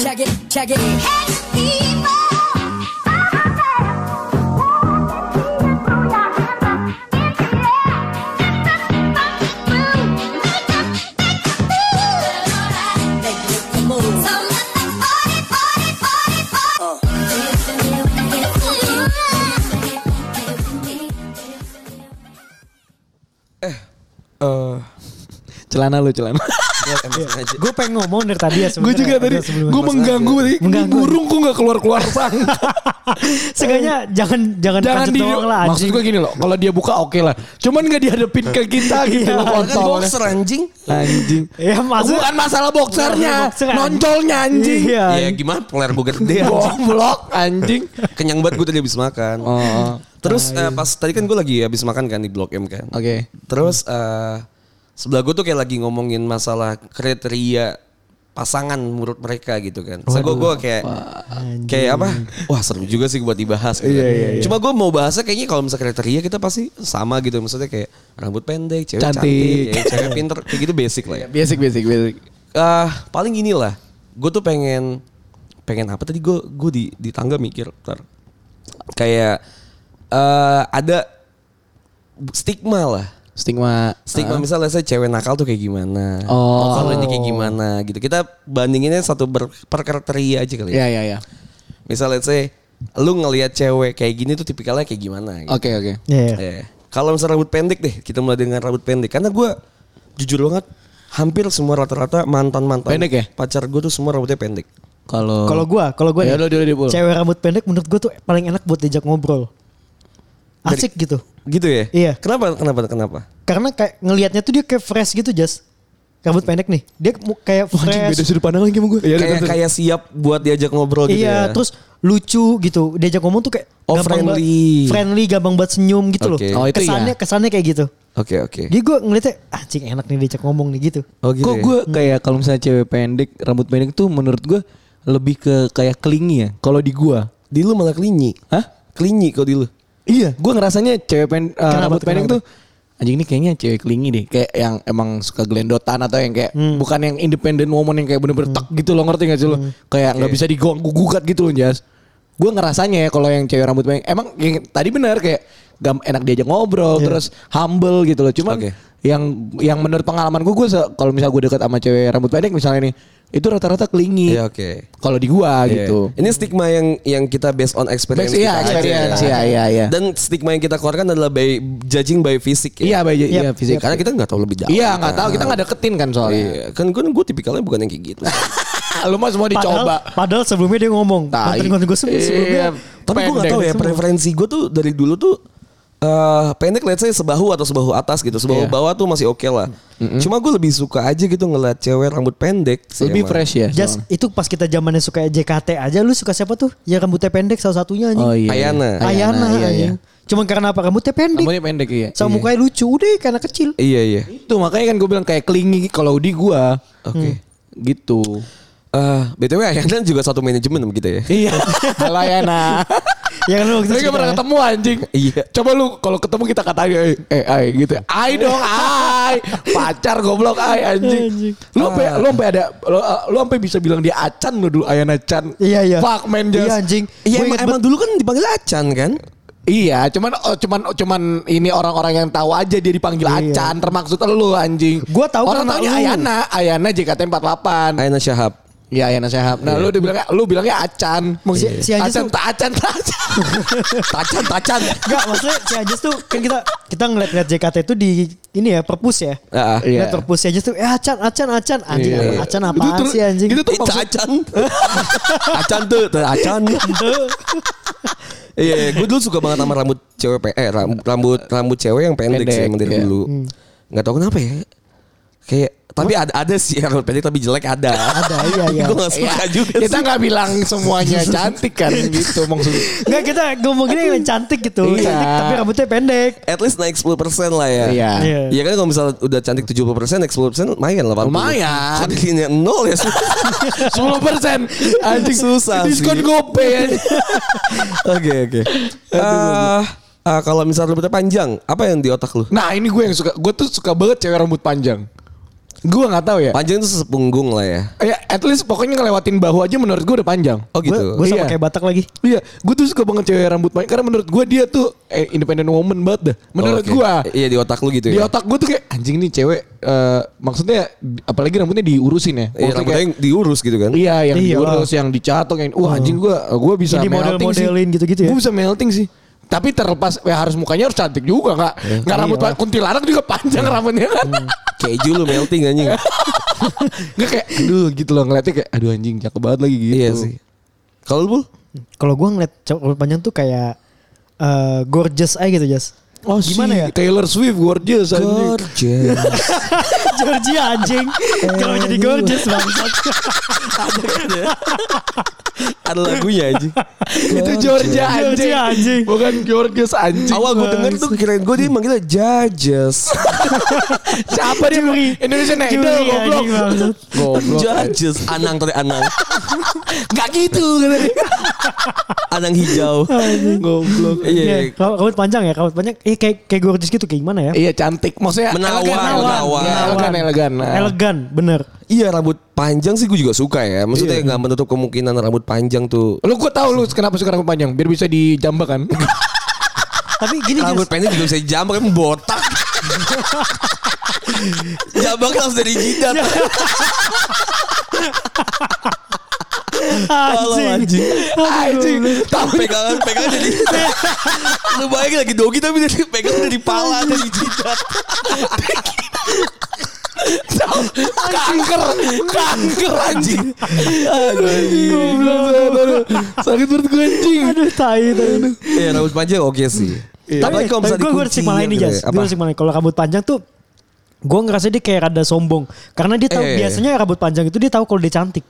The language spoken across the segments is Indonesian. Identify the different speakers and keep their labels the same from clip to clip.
Speaker 1: Check it. Make it the move.
Speaker 2: Eh, celana lu celana.
Speaker 3: Iya,
Speaker 4: Kan
Speaker 3: Gue pengen ngomong dari tadi ya
Speaker 2: gue
Speaker 3: sebenarnya.
Speaker 2: juga tadi,
Speaker 3: Sebelum-
Speaker 2: gue mengganggu tadi. Ini
Speaker 3: Mengganggu.
Speaker 2: burung kok gak keluar-keluar sang.
Speaker 3: Seenggaknya jangan jangan,
Speaker 2: Jangan
Speaker 3: kancet
Speaker 2: di
Speaker 3: doang lah.
Speaker 2: Maksud
Speaker 3: anjing.
Speaker 2: gue gini loh, kalau dia buka oke lah. Cuman gak dihadapin ke kita gitu
Speaker 3: Iya,
Speaker 2: loh
Speaker 4: Kan
Speaker 2: kontol.
Speaker 4: boxer anjing.
Speaker 2: Anjing.
Speaker 3: Ya maksud
Speaker 2: Bukan masalah boxernya,
Speaker 3: Boxer, anjing.
Speaker 2: noncolnya anjing.
Speaker 3: Iya.
Speaker 4: Ya gimana peler gue gede anjing.
Speaker 2: Goblok anjing.
Speaker 4: Kenyang banget gue tadi habis makan.
Speaker 2: Oh,
Speaker 4: Terus eh, pas tadi kan gue lagi habis makan kan di Blok M kan.
Speaker 2: Oke.
Speaker 4: Terus eh, sebelah gue tuh kayak lagi ngomongin masalah kriteria pasangan menurut mereka gitu kan. So gue gue kayak kayak apa? Wah seru juga sih buat dibahas.
Speaker 2: Iya,
Speaker 4: Gitu. kan. Cuma gue mau bahasnya kayaknya kalau misalnya kriteria kita pasti sama gitu. Maksudnya kayak rambut pendek, cewek cantik,
Speaker 2: Cantik.
Speaker 4: ya, cewek pinter, kayak gitu basic lah ya.
Speaker 2: Basic basic basic.
Speaker 4: Eh, paling gini lah, gue tuh pengen pengen apa tadi gue gue di di tangga mikir ntar kayak eh ada stigma lah
Speaker 2: Stigma.
Speaker 4: stigma misalnya saya cewek nakal tuh kayak gimana
Speaker 2: Oh.
Speaker 4: Okelannya kayak gimana gitu kita bandinginnya satu ber, per kriteria aja kali
Speaker 2: Ya
Speaker 4: ya
Speaker 2: ya ya.
Speaker 4: misalnya saya lu ngelihat cewek kayak gini tuh tipikalnya kayak gimana gitu.
Speaker 2: Oke oke.
Speaker 3: Iya.
Speaker 4: Eh, kalau misalnya rambut pendek deh kita mulai dengan rambut pendek karena gue jujur banget hampir semua rata-rata mantan mantan
Speaker 2: Pendek ya?
Speaker 4: pacar gue tuh semua rambutnya pendek
Speaker 2: Kalau
Speaker 3: Kalau gue, kalau gue
Speaker 2: Ya udah, udah, udah, Pul.
Speaker 3: cewek rambut pendek menurut gue tuh paling enak buat diajak ngobrol. Asik gitu.
Speaker 4: gitu ya
Speaker 3: Iya.
Speaker 4: kenapa kenapa kenapa
Speaker 3: Karena kayak ngelihatnya tuh dia kayak fresh gitu, Jas. Rambut pendek nih. Dia mu- kayak fresh.
Speaker 2: sudut pandang lagi sama gue. Iya,
Speaker 4: kayak kayak siap buat diajak ngobrol gitu
Speaker 3: Iya,
Speaker 4: ya
Speaker 3: terus lucu gitu. Diajak ngomong tuh kayak
Speaker 4: Oh,
Speaker 3: ba-
Speaker 4: friendly.
Speaker 3: friendly, gampang buat senyum gitu
Speaker 4: Oke.
Speaker 3: loh.
Speaker 2: Oh, itu ya.
Speaker 3: kesannya kesannya kayak gitu.
Speaker 4: oke oke
Speaker 3: Jadi gue ngeliatnya anjing enak nih diajak ngomong nih gitu.
Speaker 4: oh gitu
Speaker 2: Kok
Speaker 4: ya?
Speaker 2: gue kayak kalau misalnya cewek pendek, rambut pendek tuh menurut gue lebih ke kayak kelingi ya. Kalau di gua
Speaker 4: di lu malah kelinyi
Speaker 2: Hah?
Speaker 4: kelinyi kok di lu
Speaker 2: Iya, gue ngerasanya cewek pen, eh, rambut pendek
Speaker 3: kenapa?
Speaker 2: tuh anjing ini kayaknya cewek kelingi deh, kayak yang emang suka gelendotan atau yang kayak bukan yang independent woman yang kayak bener-bener tek gitu loh ngerti gak sih lo? Kayak nggak bisa diganggu gugat gitu loh Jas. Gue ngerasanya ya kalau yang cewek rambut pendek emang yang tadi bener kayak gam enak diajak ngobrol terus humble gitu loh. Cuman
Speaker 4: Oke.
Speaker 2: yang yang menurut pengalaman gue gue se- kalau misalnya gue deket sama cewek rambut pendek misalnya nih itu rata-rata kelingi.
Speaker 4: Iya, oke.
Speaker 2: Kalau di gua
Speaker 4: Iya.
Speaker 2: gitu.
Speaker 4: Ini stigma yang yang kita based on experience
Speaker 2: Based- iya,
Speaker 4: kita aja,
Speaker 2: experience,
Speaker 4: kan?
Speaker 2: iya, iya, iya.
Speaker 4: Dan stigma yang kita keluarkan adalah by judging by fisik
Speaker 2: Iya,
Speaker 4: ya.
Speaker 2: Bay,
Speaker 3: Yap.
Speaker 2: iya fisik.
Speaker 4: Karena kita nggak tahu lebih dalam. ya.
Speaker 2: Iya nggak tahu kita nggak deketin kan soalnya.
Speaker 4: Iya, kan gue gue tipikalnya bukan yang kayak gitu.
Speaker 2: Ah, lu mah semua dicoba.
Speaker 3: Padahal, padahal sebelumnya dia ngomong.
Speaker 2: Tai.
Speaker 3: Konten-konten gue sebelum- sebelumnya.
Speaker 2: Iya.
Speaker 4: Tapi gue nggak
Speaker 2: Pendek
Speaker 4: tahu ya
Speaker 2: semua.
Speaker 4: preferensi gue tuh dari dulu tuh eh pendek let's say sebahu atau sebahu atas gitu.
Speaker 2: Iya.
Speaker 4: Sebahu bawah tuh masih oke lah. Cuma gue lebih suka aja gitu ngeliat cewek rambut pendek. sih
Speaker 2: Lebih
Speaker 4: emang.
Speaker 2: fresh ya.
Speaker 3: Jas, itu pas kita zamannya suka JKT aja lu suka siapa tuh? Ya rambutnya pendek salah satunya anjing.
Speaker 2: Oh iya.
Speaker 4: Ayana.
Speaker 3: Ayana,
Speaker 2: iya, iya.
Speaker 3: anjing. Cuman karena apa? Rambutnya pendek.
Speaker 2: Rambutnya pendek iya.
Speaker 3: Sama
Speaker 2: Iya.
Speaker 3: mukanya lucu udah karena kecil.
Speaker 4: Iya iya.
Speaker 2: Itu makanya kan gue bilang kayak kelingi kalau di gua.
Speaker 4: Oke.
Speaker 2: Gitu.
Speaker 4: Eh, btw Ayana juga satu manajemen sama kita ya.
Speaker 2: Iya. Halo Ayana.
Speaker 3: Ya kan lu waktu
Speaker 2: Tapi
Speaker 3: itu
Speaker 2: gak pernah
Speaker 3: cerita,
Speaker 2: ketemu anjing.
Speaker 4: Iya.
Speaker 2: Coba lu kalau ketemu kita katain eh eh ay gitu. Ay dong ay. Pacar goblok ay anjing. Ah. Lu sampai lu sampai ada lu, lu sampai bisa bilang dia Acan lu dulu Ayana Chan.
Speaker 3: Iya, iya.
Speaker 2: Fuck man just.
Speaker 3: Iya, anjing.
Speaker 4: Iya
Speaker 3: Gua
Speaker 4: emang,
Speaker 3: inget
Speaker 4: emang dulu kan dipanggil Acan kan?
Speaker 2: Iya, cuman oh, cuman oh, cuman ini orang-orang yang tahu aja dia dipanggil
Speaker 3: Iya.
Speaker 2: Acan, termaksud lu anjing.
Speaker 3: Gua tahu
Speaker 2: orang
Speaker 3: karena
Speaker 2: taunya
Speaker 3: lu.
Speaker 2: Ayana, Ayana JKT48.
Speaker 4: Ayana Syahab.
Speaker 2: Iya, Ayana Sehab. Nah, lu dibilangnya lu bilangnya Acan. Maksudnya
Speaker 3: Si- si Ajan
Speaker 2: Acan,
Speaker 3: tuh-
Speaker 2: tak Acan, tak Acan.
Speaker 4: Tacan, tacan.
Speaker 3: Enggak, maksudnya si Ajis tuh kan kita kita ngeliat-ngeliat JKT itu di ini ya, perpus ya.
Speaker 4: Ah,
Speaker 2: iya.
Speaker 3: Ngeliat perpus si Ajis tuh, eh acan, acan, acan. Anjing,
Speaker 2: Iya.
Speaker 3: apa- acan
Speaker 2: Itu
Speaker 3: apaan
Speaker 2: tuh-
Speaker 3: sih anjing?
Speaker 2: itu tuh
Speaker 4: Itu acan. acan tuh, tuh, acan. Iya, gue dulu suka banget sama rambut cewek pe- eh rambut rambut, rambut cewek yang pendek,
Speaker 2: Pendek,
Speaker 4: sih emang dari
Speaker 2: iya.
Speaker 4: dulu. Nggak tahu kenapa ya. Kayak tapi ada ada sih rambut pendek tapi jelek ada.
Speaker 3: Ada, iya, iya.
Speaker 4: gue gak suka
Speaker 2: Iya,
Speaker 4: juga.
Speaker 2: Kita nggak bilang semuanya cantik kan gitu maksud.
Speaker 3: Enggak kita ngomonginnya yang cantik gitu.
Speaker 2: Iya.
Speaker 3: Cantik tapi rambutnya pendek.
Speaker 4: At least naik 10% lah ya.
Speaker 2: Iya.
Speaker 3: Iya.
Speaker 4: Iya kan kalau misalnya udah cantik 70% naik 10% lumayan lah. 80.
Speaker 2: Lumayan.
Speaker 4: Cantiknya nol ya.
Speaker 2: Sepuluh persen anjing
Speaker 4: Susah sih.
Speaker 2: diskon ya. gopay
Speaker 4: Oke oke. Ah, ah, kalau misalnya rambutnya panjang, apa yang di otak lu?
Speaker 2: nah ini gue yang suka gue tuh suka banget cewek rambut panjang Gua nggak tahu ya.
Speaker 4: Panjang itu sepunggung lah ya.
Speaker 2: Ya, at least pokoknya ngelewatin bahu aja menurut gue udah panjang.
Speaker 4: Oh gitu.
Speaker 3: Gue sama
Speaker 2: Iya.
Speaker 3: kayak Batak lagi.
Speaker 2: Iya, gue tuh suka banget cewek rambut panjang karena menurut gue dia tuh eh, independent woman banget dah. Menurut
Speaker 4: Oke.
Speaker 2: gua
Speaker 4: I- Iya di otak lu gitu
Speaker 2: Di
Speaker 4: ya.
Speaker 2: otak gue tuh kayak anjing nih cewek eh, maksudnya di- apalagi rambutnya diurusin ya.
Speaker 4: Iya
Speaker 2: Maksudnya
Speaker 4: rambutnya yang diurus gitu kan.
Speaker 2: kayak- iya yang
Speaker 3: Iya.
Speaker 2: diurus, yang dicatok, yang wah anjing gue gue bisa
Speaker 3: Yang dimodel-modelin gitu-gitu ya?
Speaker 2: Gue bisa melting sih. Tapi terlepas ya harus mukanya harus cantik juga kak. Nggak rambut
Speaker 3: Iya.
Speaker 2: kuntilanak juga panjang
Speaker 4: Iya.
Speaker 2: rambutnya kan.
Speaker 4: Hmm. Keju lu melting anjing.
Speaker 2: Iya Nggak kayak aduh gitu loh ngeliatnya kayak aduh anjing cakep banget lagi gitu.
Speaker 4: Iya sih. Kalau lu Bul?
Speaker 3: Kalau gue ngeliat cowok rambut panjang tuh kayak eh, gorgeous aja gitu Jas.
Speaker 2: Oh
Speaker 3: Gimana
Speaker 2: sih,
Speaker 3: ya?
Speaker 2: Taylor Swift gorgeous anjing.
Speaker 4: Gorgeous.
Speaker 3: Georgia anjing.
Speaker 2: Eh,
Speaker 3: Kalau jadi gorgeous bangsat.
Speaker 4: Ada lagunya anjing.
Speaker 2: Itu Georgia anjing.
Speaker 3: Georgia anjing.
Speaker 2: Bukan Georgius anjing.
Speaker 4: Awal gue denger tuh kirain gue dia manggilnya judges.
Speaker 2: siapa dia?
Speaker 3: Juri.
Speaker 2: Indonesian Idol
Speaker 3: Juri
Speaker 2: goblok.
Speaker 3: anjing bangsat.
Speaker 2: Goblok.
Speaker 4: judges. Anang tadi Anang.
Speaker 2: Gak gitu kata dia.
Speaker 4: Anang hijau.
Speaker 2: Goblok.
Speaker 4: Iya.
Speaker 3: Iya,
Speaker 4: iya.
Speaker 3: rambut rambut panjang ya, rambut panjang. Eh kayak kayak gorgeous gitu kayak gimana ya?
Speaker 2: Iya cantik. Maksudnya
Speaker 4: Menawan, menawan.
Speaker 2: Iya, Elegan, elegan. Nah.
Speaker 3: Elegan, bener.
Speaker 4: Iya rambut panjang sih gue juga suka
Speaker 2: Iya.
Speaker 4: ya. Maksudnya nggak menutup kemungkinan rambut panjang tuh.
Speaker 2: Lu gue tau lu kenapa suka rambut panjang biar bisa dijambak kan.
Speaker 3: Tapi gini Jas,
Speaker 4: Rambut pendek juga bisa jambak kan botak. jambak harus dari jidat. Tolong,
Speaker 3: anjing.
Speaker 4: anjing.
Speaker 2: Anjing. Tapi
Speaker 4: pegangan pegangan jadi lu bayangin lagi dogi tapi dari pegangan dari pala dari jidat
Speaker 2: kanker, kanker anjing.
Speaker 3: Goblok.
Speaker 2: Sakit perut gue anjing.
Speaker 3: Aduh, tai tai.
Speaker 4: ya rambut panjang oke sih
Speaker 3: Tapi
Speaker 4: Apalagi kalau misalnya
Speaker 3: gue gue harus malah ini
Speaker 4: dikunciin
Speaker 3: Jas.
Speaker 4: gitu ya.
Speaker 3: Gue
Speaker 4: Apa?
Speaker 3: harus malah kalau rambut panjang tuh gue ngerasa dia kayak rada sombong karena dia tahu
Speaker 4: Eh.
Speaker 3: biasanya rambut panjang itu dia tahu kalau dia cantik.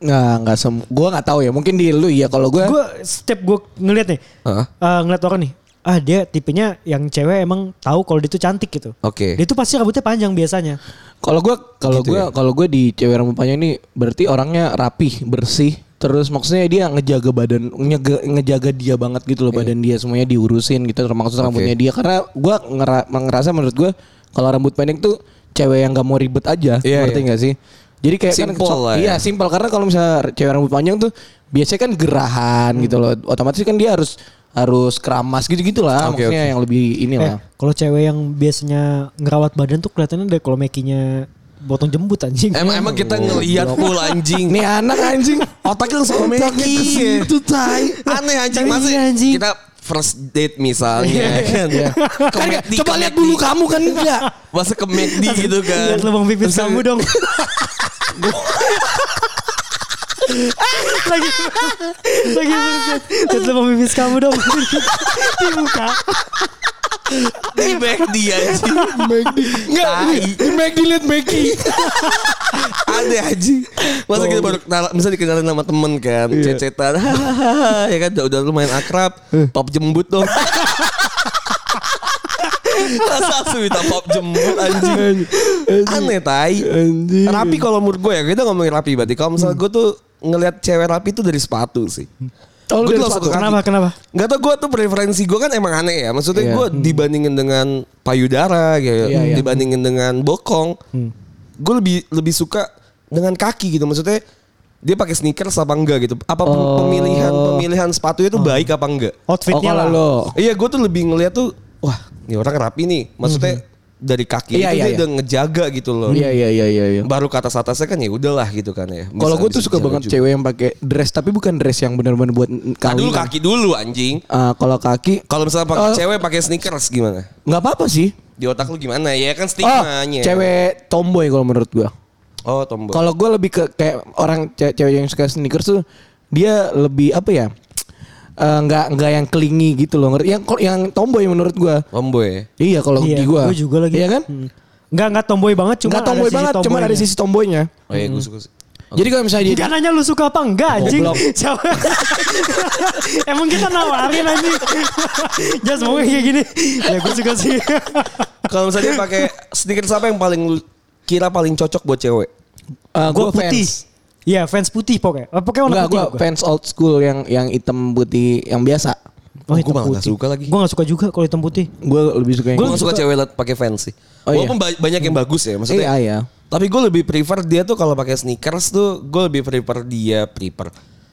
Speaker 2: Nggak, nggak sem. Gue nggak tahu ya. Mungkin di lu ya. Kalau gue,
Speaker 3: Gue setiap gue ngeliat nih,
Speaker 4: Heeh.
Speaker 3: eh, ngeliat orang nih, ah dia tipenya yang cewek emang tahu kalau dia tuh cantik gitu.
Speaker 4: oke
Speaker 3: Dia tuh pasti rambutnya panjang biasanya.
Speaker 2: kalau gue, kalau
Speaker 4: Gitu
Speaker 2: gue,
Speaker 4: ya.
Speaker 2: kalau gue di cewek rambut panjang ini berarti orangnya rapih, bersih. Terus maksudnya dia ngejaga badan, ngejaga, ngejaga dia banget gitu
Speaker 4: Iya.
Speaker 2: loh. Badan dia semuanya diurusin gitu. Termasuk rambutnya dia. Karena gue ngera- ngerasa menurut gue kalau rambut pendek tuh cewek yang gak mau ribet aja.
Speaker 4: Iya,
Speaker 2: ngerti
Speaker 4: iya.
Speaker 2: nggak sih? Jadi kayak
Speaker 4: Simple
Speaker 2: kan,
Speaker 4: lah ya.
Speaker 2: iya simpel karena kalau misalnya cewek rambut panjang tuh biasanya kan gerahan gitu
Speaker 4: Hmm.
Speaker 2: loh. Otomatis kan dia harus harus keramas gitu-gitu lah.
Speaker 4: Oke,
Speaker 2: maksudnya yang lebih
Speaker 3: Eh,
Speaker 4: Iya.
Speaker 2: inilah.
Speaker 3: kalau cewek yang biasanya ngerawat badan tuh kelihatannya dari kalau mekinya botong jembut anjing.
Speaker 4: emang emang kita ngelihat full anjing
Speaker 2: Nih anak anjing
Speaker 4: otaknya langsung ke
Speaker 2: Otaknya ke situ, tai.
Speaker 4: aneh anjing
Speaker 3: Iya,
Speaker 4: masih
Speaker 3: anjing.
Speaker 4: kita first date misalnya kan Ke
Speaker 2: Iya, Kan nggak,
Speaker 4: McD,
Speaker 2: coba
Speaker 4: ke
Speaker 2: lihat
Speaker 4: McD.
Speaker 2: bulu kamu kan enggak.
Speaker 4: masa ke McD gitu kan
Speaker 3: Lihat lubang pipit kamu dong. lagi lagi berset. Lihat lubang pipis kamu dong. Dibuka.
Speaker 4: di McD anjing
Speaker 2: Enggak, Meg dilihat Megi.
Speaker 4: ada aja masa kita baru kenal misalnya dikenalin sama temen kan cecetan ya kan udah, udah lumayan akrab pop jembut dong Masa langsung minta pop jembut anjing Aneh tai Rapi kalau menurut gue ya Kita ngomongin rapi berarti Kalau misalnya gue tuh Ngeliat cewek rapi tuh dari sepatu sih
Speaker 2: Oh,
Speaker 4: Gua
Speaker 2: lu dari
Speaker 4: tuh langsung
Speaker 2: sepatu.
Speaker 4: ke kaki.
Speaker 3: Kenapa kenapa?
Speaker 4: Nggak tau gue tuh preferensi gue kan emang aneh ya Maksudnya
Speaker 2: Iya.
Speaker 4: gue dibandingin dengan payudara gitu
Speaker 2: Iya, Hmm. iya.
Speaker 4: Dibandingin dengan bokong Gue lebih lebih suka dengan kaki gitu Maksudnya dia pakai sneakers apa enggak gitu Apa pem-
Speaker 2: Oh.
Speaker 4: pemilihan pemilihan sepatunya tuh baik apa enggak
Speaker 2: Oh,
Speaker 3: Outfitnya
Speaker 2: kalau
Speaker 3: lah.
Speaker 2: lo.
Speaker 4: Iya gue tuh lebih ngeliat tuh Wah ini orang rapi nih Maksudnya dari kaki
Speaker 2: Hmm. Iya, iya,
Speaker 4: itu dia
Speaker 2: iya.
Speaker 4: udah ngejaga gitu loh
Speaker 2: Iya iya iya iya. iya.
Speaker 4: Baru ke atas-atasnya kan ya udahlah gitu kan ya
Speaker 2: Kalau
Speaker 4: Bisa-
Speaker 2: gue tuh
Speaker 4: bisa
Speaker 2: suka
Speaker 4: dijaga
Speaker 2: banget
Speaker 4: juga.
Speaker 2: cewek yang pakai dress tapi bukan dress yang benar-benar buat
Speaker 4: Nah,
Speaker 2: kawinan.
Speaker 4: Dulu kaki dulu anjing
Speaker 2: Ah, kalau kaki
Speaker 4: Kalau misalnya pakai
Speaker 2: Oh.
Speaker 4: cewek pakai sneakers gimana?
Speaker 2: nggak apa-apa sih.
Speaker 4: Di otak lu gimana ya kan
Speaker 2: Oh,
Speaker 4: stigmanya.
Speaker 2: cewek tomboy kalau menurut gua.
Speaker 4: Oh, tombol.
Speaker 2: Kalau gue lebih ke kayak orang ce- cewek yang suka sneakers tuh dia lebih apa ya? Eh, nggak nggak yang kelingi gitu loh. Ngerti? Yang yang tomboy menurut gua.
Speaker 4: Tomboy. ya?
Speaker 2: Iya kalau
Speaker 3: Iya,
Speaker 2: di gua.
Speaker 3: gua juga lagi.
Speaker 2: Iya kan?
Speaker 3: Hmm. Enggak enggak tomboy banget cuma
Speaker 2: Nggak tomboy banget, cuman ada sisi tomboynya.
Speaker 4: Oh iya, gue suka sih.
Speaker 2: Jadi kalau misalnya dia
Speaker 3: Gak nanya lu suka apa enggak anjing
Speaker 2: Goblok.
Speaker 3: Siapa Emang kita nawarin anjing Jas mau kayak gini Ya gue suka sih
Speaker 4: Kalau misalnya dia pakai sneakers apa yang paling lu kira paling cocok buat cewek?
Speaker 2: Eh,
Speaker 3: Gue
Speaker 2: gua
Speaker 3: putih
Speaker 2: fans.
Speaker 3: Iya fans putih pokoknya Eh, Pokoknya warna
Speaker 2: Enggak,
Speaker 3: putih
Speaker 2: gue
Speaker 3: gua.
Speaker 2: fans old school yang yang hitam putih yang biasa.
Speaker 3: Oh,
Speaker 4: Gua
Speaker 3: hitam
Speaker 4: malah nggak
Speaker 3: putih.
Speaker 4: suka lagi.
Speaker 3: Gue gak suka juga kalau hitam putih
Speaker 2: Gue lebih suka yang
Speaker 4: Gue suka, cewek liat pakai fancy.
Speaker 2: Oh, iya.
Speaker 4: Walaupun ba- banyak yang bagus ya, maksudnya.
Speaker 2: iya, iya.
Speaker 4: Tapi gue lebih prefer dia tuh kalau pakai sneakers tuh gue lebih prefer dia prefer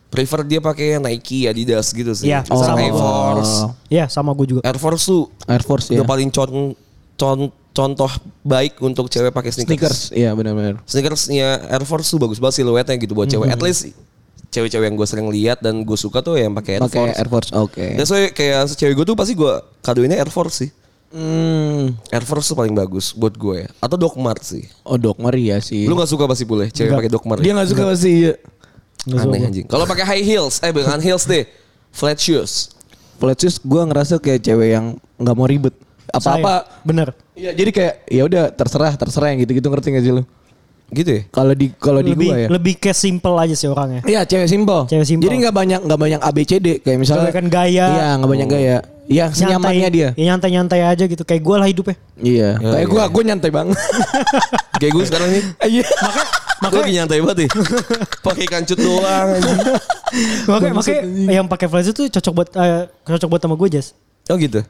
Speaker 4: prefer dia pakai Nike Adidas gitu sih.
Speaker 3: Iya,
Speaker 4: Misalnya
Speaker 3: sama
Speaker 4: Air
Speaker 3: gua.
Speaker 4: Force.
Speaker 3: Iya sama gue
Speaker 2: Eh,
Speaker 3: juga.
Speaker 4: Air Force tuh
Speaker 2: Oh. Air Force
Speaker 4: udah
Speaker 2: ya.
Speaker 4: paling con, con- contoh baik untuk cewek pakai sneakers.
Speaker 2: Sneakers, iya benar-benar.
Speaker 4: Sneakersnya Air Force tuh bagus banget siluetnya gitu buat
Speaker 2: Mhm.
Speaker 4: cewek. At least cewek-cewek yang gue sering lihat dan gue suka tuh yang pakai Air
Speaker 2: Pakai
Speaker 4: Force.
Speaker 2: Air Force, oke.
Speaker 4: That's why kayak cewek gue tuh pasti gue kadoinnya Air Force sih.
Speaker 2: Hmm,
Speaker 4: Air Force tuh paling bagus buat gue. Atau Doc Mart sih.
Speaker 2: oh Dok Maria sih.
Speaker 4: Lu gak suka pasti boleh cewek pakai Doc Mart. ya?
Speaker 2: dia nggak suka pasti
Speaker 4: Aneh
Speaker 3: Nggak suka.
Speaker 4: anjing. Kalau pakai high heels, eh bukan heels deh. Flat shoes.
Speaker 2: Flat shoes gue ngerasa kayak cewek yang nggak mau ribet. Apa-apa.
Speaker 3: Saya, bener.
Speaker 2: Ya, jadi kayak ya udah terserah, terserah yang gitu-gitu ngerti gak sih lu?
Speaker 4: Gitu ya?
Speaker 2: Kalau di kalau di
Speaker 3: Lebih
Speaker 2: gua ya.
Speaker 3: lebih ke simple aja sih orangnya.
Speaker 2: Iya, cewek simpel.
Speaker 3: Cewek simpel.
Speaker 2: Jadi nggak banyak nggak banyak ABCD kayak misalnya.
Speaker 3: Kebanyakan gaya.
Speaker 2: Iya, nggak banyak gaya. Iya, senyamannya dia.
Speaker 3: Ya, nyantai-nyantai aja gitu. Kayak gue lah hidupnya.
Speaker 2: Iya.
Speaker 4: Ya,
Speaker 2: kayak
Speaker 4: iya,
Speaker 2: gua
Speaker 4: iya.
Speaker 2: gua nyantai banget.
Speaker 4: Kayak gue sekarang nih.
Speaker 2: Iya.
Speaker 4: Gue lagi nyantai banget nih. pakai kancut doang. anjing.
Speaker 3: Makanya, makanya yang pakai flash itu cocok buat eh, cocok buat sama gue Jas.
Speaker 4: Oh gitu.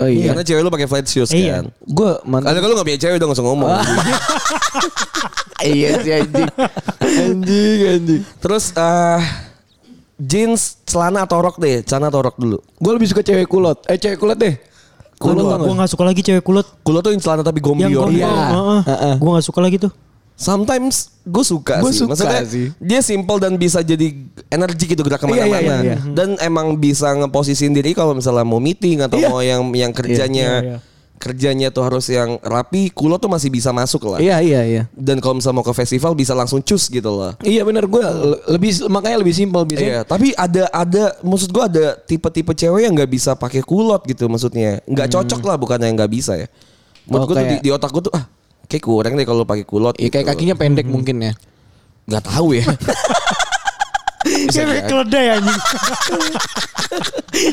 Speaker 2: Oh iya.
Speaker 4: Karena cewek lu pakai flat shoes kan.
Speaker 3: Iya.
Speaker 2: Gua
Speaker 4: Karena
Speaker 2: mantan.
Speaker 4: kalau gak punya cewek udah gak usah ngomong.
Speaker 2: iya sih anjing. Anjing, anjing.
Speaker 4: Terus eh jeans, celana atau rok deh. Celana atau rok dulu.
Speaker 2: Gua lebih suka cewek kulot. Eh, cewek kulot deh. Kulot tau
Speaker 3: Gue
Speaker 2: nggak?
Speaker 3: gak suka lagi cewek kulot.
Speaker 4: Kulo tuh yang celana tapi oh gombior.
Speaker 3: Yang gombal.
Speaker 2: Iya.
Speaker 3: Heeh.
Speaker 2: Heeh.
Speaker 3: Gue gak suka lagi tuh.
Speaker 4: Sometimes gue suka
Speaker 2: Gua
Speaker 4: sih.
Speaker 2: suka
Speaker 4: Maksudnya
Speaker 2: sih.
Speaker 4: dia simple dan bisa jadi energi gitu gerak
Speaker 2: Iya, iya,
Speaker 4: kemana-mana.
Speaker 2: iya, iya.
Speaker 4: Dan emang bisa ngeposisiin diri kalau misalnya mau meeting atau
Speaker 2: Iya.
Speaker 4: mau yang yang kerjanya
Speaker 3: iya, iya.
Speaker 4: kerjanya tuh harus yang rapi. Kulo tuh masih bisa masuk lah.
Speaker 2: Iya, iya, iya.
Speaker 4: Dan kalau misalnya mau ke festival bisa langsung cus gitu loh.
Speaker 2: Iya benar gue lebih makanya lebih simpel bisa.
Speaker 4: Iya, tapi ada ada maksud gua ada tipe-tipe cewek yang nggak bisa pakai kulot gitu maksudnya. Nggak cocok lah bukan yang nggak bisa ya.
Speaker 2: Hmm. Oh,
Speaker 4: Menurut gua tuh di,
Speaker 2: kayak-
Speaker 4: di otak gua tuh ah kayak kurang deh kalau pakai kulot. gitu."
Speaker 2: Ya, kayak kakinya pendek mungkin ya.
Speaker 4: Hmm. nggak tahu ya. Bisa
Speaker 3: Cewek
Speaker 4: jadi.
Speaker 3: keledai anjing.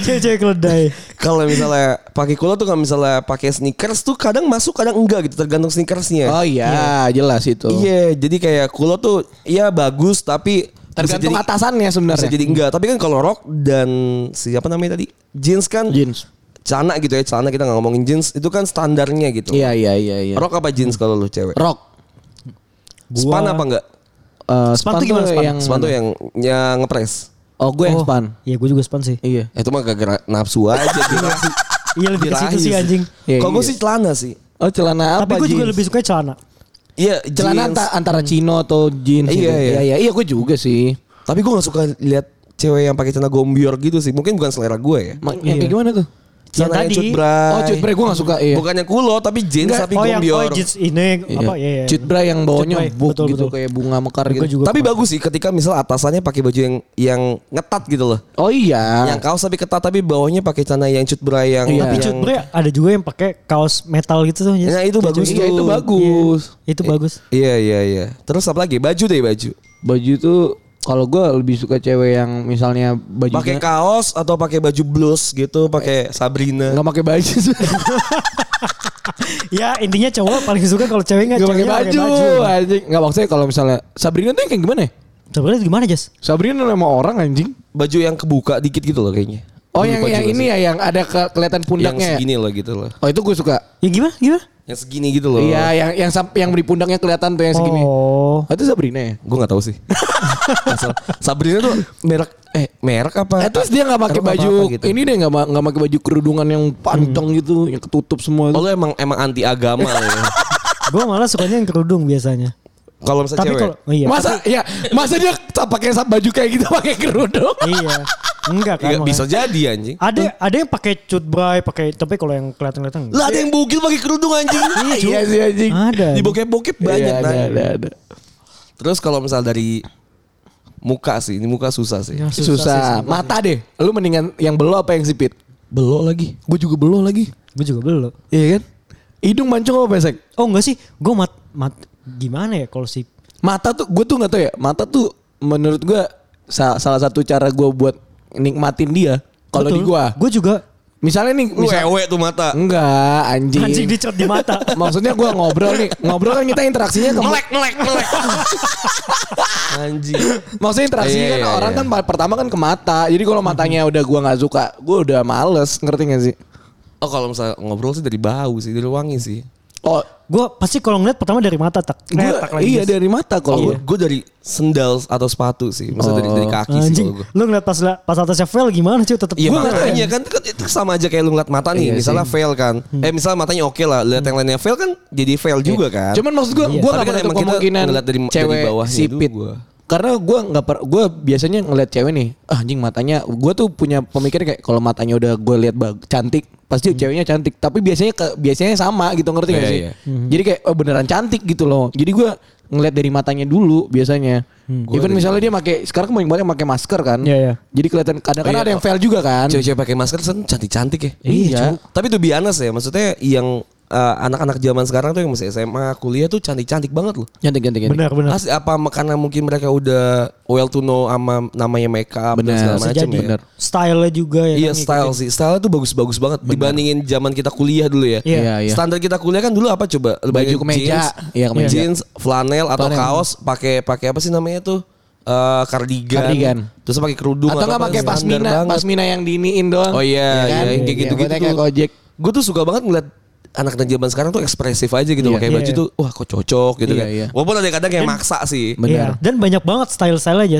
Speaker 3: Cewek-cewek keledai.
Speaker 4: Kalau misalnya pakai kulot tuh kalau misalnya pakai sneakers tuh kadang masuk kadang enggak gitu tergantung sneakersnya.
Speaker 2: Oh iya, jelas itu.
Speaker 4: Iya, jadi kayak kulot tuh ya bagus tapi bisa
Speaker 2: Tergantung
Speaker 4: jadi-
Speaker 2: atasannya
Speaker 4: Bisa
Speaker 2: sebenarnya.
Speaker 4: jadi enggak, tapi kan kalau rok dan siapa namanya tadi? Jeans kan
Speaker 2: jeans.
Speaker 4: celana gitu ya, celana kita nggak ngomongin jeans itu kan standarnya gitu.
Speaker 2: Iya iya iya iya.
Speaker 4: Rok apa jeans kalau lu cewek?
Speaker 2: Rock.
Speaker 4: Span apa enggak?
Speaker 2: Eh,
Speaker 3: Span tuh gimana, span?
Speaker 2: Yang,
Speaker 4: Span tuh yang yang ngepres. Eh,
Speaker 2: Oh gue yang
Speaker 3: Oh,
Speaker 2: span.
Speaker 3: Iya gue juga span sih.
Speaker 2: Iya.
Speaker 4: Itu mah gara-gara nafsu aja gitu.
Speaker 3: Iya lebih ke situ sih anjing.
Speaker 2: Iya,
Speaker 4: Kalau gue
Speaker 2: iya.
Speaker 4: sih celana sih.
Speaker 2: Oh celana
Speaker 3: Tapi
Speaker 2: apa?
Speaker 3: gue juga
Speaker 2: jeans?
Speaker 3: lebih suka celana.
Speaker 4: Iya,
Speaker 2: celana
Speaker 4: jeans.
Speaker 2: anta- antara chino atau jeans.
Speaker 4: Iya,
Speaker 2: gitu.
Speaker 4: iya.
Speaker 2: iya. Iya gue juga sih.
Speaker 4: Tapi gue gak suka lihat cewek yang pakai celana gombior gitu sih. Mungkin bukan selera gue ya.
Speaker 2: Ma- Yang
Speaker 3: Iya.
Speaker 2: kayak gimana tuh?
Speaker 3: Yang
Speaker 4: Celana yang
Speaker 3: tadi.
Speaker 4: cut bray.
Speaker 2: Oh cut bray gue gak suka. Iya.
Speaker 4: Bukan yang kulot tapi jeans
Speaker 3: Enggak,
Speaker 4: tapi
Speaker 3: oh yang oh,
Speaker 4: gombior.
Speaker 3: jeans ini
Speaker 2: Iya.
Speaker 3: apa ya?
Speaker 2: Cut bra yang bawahnya
Speaker 3: Cut bra,
Speaker 2: book
Speaker 3: betul,
Speaker 2: gitu
Speaker 3: betul.
Speaker 2: kayak bunga mekar
Speaker 3: Gue
Speaker 2: gitu.
Speaker 3: juga
Speaker 4: tapi
Speaker 3: pernah.
Speaker 4: bagus sih ketika misal atasannya pakai baju yang yang ngetat gitu loh.
Speaker 2: Oh iya.
Speaker 4: Yang kaos tapi ketat tapi bawahnya pakai celana yang cut bray yang
Speaker 2: Iya.
Speaker 3: Tapi
Speaker 4: yang-
Speaker 3: Ah. cut bra ada juga yang pakai kaos metal gitu tuh. Jess.
Speaker 4: Nah, itu bagus
Speaker 3: ya,
Speaker 2: Iya, itu
Speaker 4: tuh.
Speaker 2: bagus.
Speaker 3: Itu bagus.
Speaker 4: Iya iya iya. Terus apa lagi? Baju deh baju.
Speaker 2: Baju tuh kalau gue lebih suka cewek yang misalnya bajunya
Speaker 4: Pakai kaos atau pakai baju blus gitu, pakai Sabrina.
Speaker 2: nggak pakai baju
Speaker 3: Ya intinya cowok paling suka kalau cewek nggak
Speaker 2: nggak pakai
Speaker 3: ceweknya
Speaker 2: baju anjing nggak maksudnya kalau misalnya Sabrina tuh yang kayak gimana ya
Speaker 3: Sebenarnya gimana Jas?
Speaker 2: Sabrina nama orang anjing
Speaker 4: Baju yang kebuka dikit gitu loh kayaknya.
Speaker 2: oh
Speaker 4: Dulu
Speaker 2: yang
Speaker 4: baju
Speaker 2: yang
Speaker 4: gak
Speaker 2: ini
Speaker 4: sih?
Speaker 2: ya yang ada ke- kelihatan
Speaker 4: yang
Speaker 2: pundaknya ya?
Speaker 4: segini loh gitu loh.
Speaker 2: oh itu gue suka
Speaker 3: Ya gimana? Gimana?
Speaker 4: Yang segini gitu loh.
Speaker 2: iya yang yang sampai yang di pundaknya kelihatan tuh yang segini
Speaker 3: Oh.
Speaker 2: oh, itu Sabrina ya
Speaker 4: Gue gak tahu sih. Asal- Sabrina tuh merek eh merek apa?
Speaker 2: Eh, terus dia nggak pakai
Speaker 4: Apa-apa
Speaker 2: baju
Speaker 4: gitu. Hmm.
Speaker 2: ini deh nggak ma- nggak pakai baju kerudungan yang panjang gitu yang ketutup semua itu.
Speaker 4: Oh, lu emang emang anti agama lu ya.
Speaker 3: Gue malah sukanya yang kerudung biasanya.
Speaker 4: Kalau misalnya
Speaker 3: Tapi
Speaker 4: cewek.
Speaker 3: kalau oh, iya.
Speaker 2: masa ya masa dia tak pakai sa- baju kayak gitu pakai kerudung
Speaker 3: iya. Enggak kan.
Speaker 4: Iya, bisa
Speaker 2: ya.
Speaker 3: makanya.
Speaker 4: jadi anjing.
Speaker 2: Ah,
Speaker 3: Ada ada yang pakai cut bray, pakai tapi kalau yang kelihatan-kelihatan enggak.
Speaker 4: Lah ada yang bugil pakai kerudung anjing.
Speaker 2: iya sih anjing
Speaker 3: Ada.
Speaker 4: Di bokep-bokep banyak
Speaker 2: Iya,
Speaker 4: nah.
Speaker 2: ada, ada, ada.
Speaker 4: Terus kalau misal dari muka sih, ini muka susah sih.
Speaker 3: Ya,
Speaker 2: susah, mata deh lu mendingan yang belo apa yang sipit
Speaker 4: Belok lagi.
Speaker 2: gue juga belo lagi
Speaker 3: Gue juga belum.
Speaker 2: Iya kan? Hidung mancung apa pesek?
Speaker 3: Oh enggak sih, gue mat mat gimana ya kalau si
Speaker 2: Mata tuh gue tuh nggak tahu ya. Mata tuh menurut gue sa- salah satu cara gue buat nikmatin dia. Kalau di gue,
Speaker 3: Gue juga
Speaker 2: misalnya nih,
Speaker 4: Lu
Speaker 2: misal-
Speaker 4: ewe tuh mata.
Speaker 2: enggak anjing.
Speaker 3: anjing dicat di mata.
Speaker 2: Maksudnya gue ngobrol nih, ngobrol kan kita interaksinya ke
Speaker 4: Melek, melek, melek. Anjing.
Speaker 2: Maksudnya interaksinya
Speaker 4: Iya,
Speaker 2: kan
Speaker 4: iya,
Speaker 2: orang
Speaker 4: iya.
Speaker 2: kan pa- pertama kan ke mata. Jadi kalau matanya udah gue nggak suka, gue udah males, ngerti gak sih?
Speaker 4: Oh kalau misalnya ngobrol sih dari bau sih, dari wangi sih.
Speaker 2: Oh,
Speaker 3: Gue pasti kalau ngeliat pertama dari mata tak. Retak
Speaker 2: gua,
Speaker 3: lagi,
Speaker 2: iya Oh.
Speaker 3: Jas.
Speaker 2: dari mata
Speaker 4: Kalau
Speaker 2: kalau gua.
Speaker 4: gue dari sendal atau sepatu sih, maksudnya dari, dari kaki sih
Speaker 3: Anjing,
Speaker 4: kalau gue.
Speaker 3: lu ngeliat pas pas atasnya fail gimana cuy tetep
Speaker 4: Iya
Speaker 3: gua
Speaker 4: makanya kan itu, kan itu sama aja kayak lu ngeliat mata nih,
Speaker 2: Iya
Speaker 4: misalnya fail kan, eh misalnya matanya oke lah, lihat yang lainnya fail kan jadi fail juga kan.
Speaker 2: Iya. Cuman maksud gua gua
Speaker 4: Tapi
Speaker 2: enggak
Speaker 4: kan
Speaker 2: pernah tuh
Speaker 4: emang kita
Speaker 2: kemungkinan
Speaker 4: ngeliat dari- dari
Speaker 2: cewek
Speaker 4: bawahnya
Speaker 2: sipit.
Speaker 4: dulu gua.
Speaker 2: Karena gua nggak per, gua biasanya ngeliat cewek nih, ah, anjing matanya gua tuh punya pemikiran kayak kalau matanya udah gua lihat bag- cantik, pasti ceweknya cantik, tapi biasanya ke, biasanya sama gitu ngerti nggak
Speaker 4: Hmm. Iya,
Speaker 2: sih?
Speaker 4: iya.
Speaker 2: Jadi kayak oh, beneran cantik gitu loh. Jadi gua ngeliat dari matanya dulu biasanya.
Speaker 4: Hmm,
Speaker 2: Even misalnya dia pakai sekarang banyak banget yang pakai masker kan.
Speaker 3: Iya, iya.
Speaker 2: Jadi kelihatan kadang-kadang
Speaker 4: Oh, iya.
Speaker 2: ada yang fail juga kan.
Speaker 4: Cewek-cewek pakai masker kan cantik-cantik ya.
Speaker 2: Iya.
Speaker 4: Cuk. Tapi tuh biasa ya, maksudnya yang eh, anak-anak zaman sekarang tuh yang masih SMA, kuliah tuh cantik-cantik banget loh.
Speaker 2: Cantik cantik cantik.
Speaker 3: Benar benar.
Speaker 4: Iya, Asli, apa karena mungkin mereka udah well to know sama namanya makeup dan
Speaker 2: Benar.
Speaker 4: segala
Speaker 2: Bisa
Speaker 4: macam
Speaker 2: jadi.
Speaker 4: ya.
Speaker 2: Benar.
Speaker 3: Style-nya juga ya.
Speaker 4: Iya
Speaker 3: kan,
Speaker 4: style sih, style tuh bagus-bagus banget dibandingin zaman kita kuliah dulu ya.
Speaker 3: Iya.
Speaker 2: Iya, iya.
Speaker 4: Standar kita kuliah kan dulu apa coba? Lu bayangin
Speaker 2: kemeja.
Speaker 4: jeans,
Speaker 2: Iya, kemeja.
Speaker 4: jeans, flanel atau
Speaker 2: Flanel.
Speaker 4: kaos pakai pakai apa sih namanya tuh? Eh kardigan.
Speaker 2: Kardigan.
Speaker 4: Terus pakai kerudung
Speaker 2: Atau nggak
Speaker 4: apa,
Speaker 2: pakai
Speaker 4: standar
Speaker 2: pasmina,
Speaker 4: banget.
Speaker 2: pasmina yang diiniin doang.
Speaker 4: Oh iya, iya, yang kayak gitu-gitu
Speaker 2: Yang kayak
Speaker 4: tuh.
Speaker 2: Gojek.
Speaker 4: Gue tuh suka banget ngeliat anak dan zaman sekarang tuh ekspresif aja gitu
Speaker 2: Iya.
Speaker 4: pakai
Speaker 3: Iya,
Speaker 4: baju
Speaker 3: iya.
Speaker 4: tuh wah kok cocok gitu
Speaker 2: Iya,
Speaker 4: kan.
Speaker 2: iya.
Speaker 4: Walaupun ada kadang kayak maksa sih.
Speaker 2: Benar.
Speaker 3: Iya, Dan banyak banget style-style aja.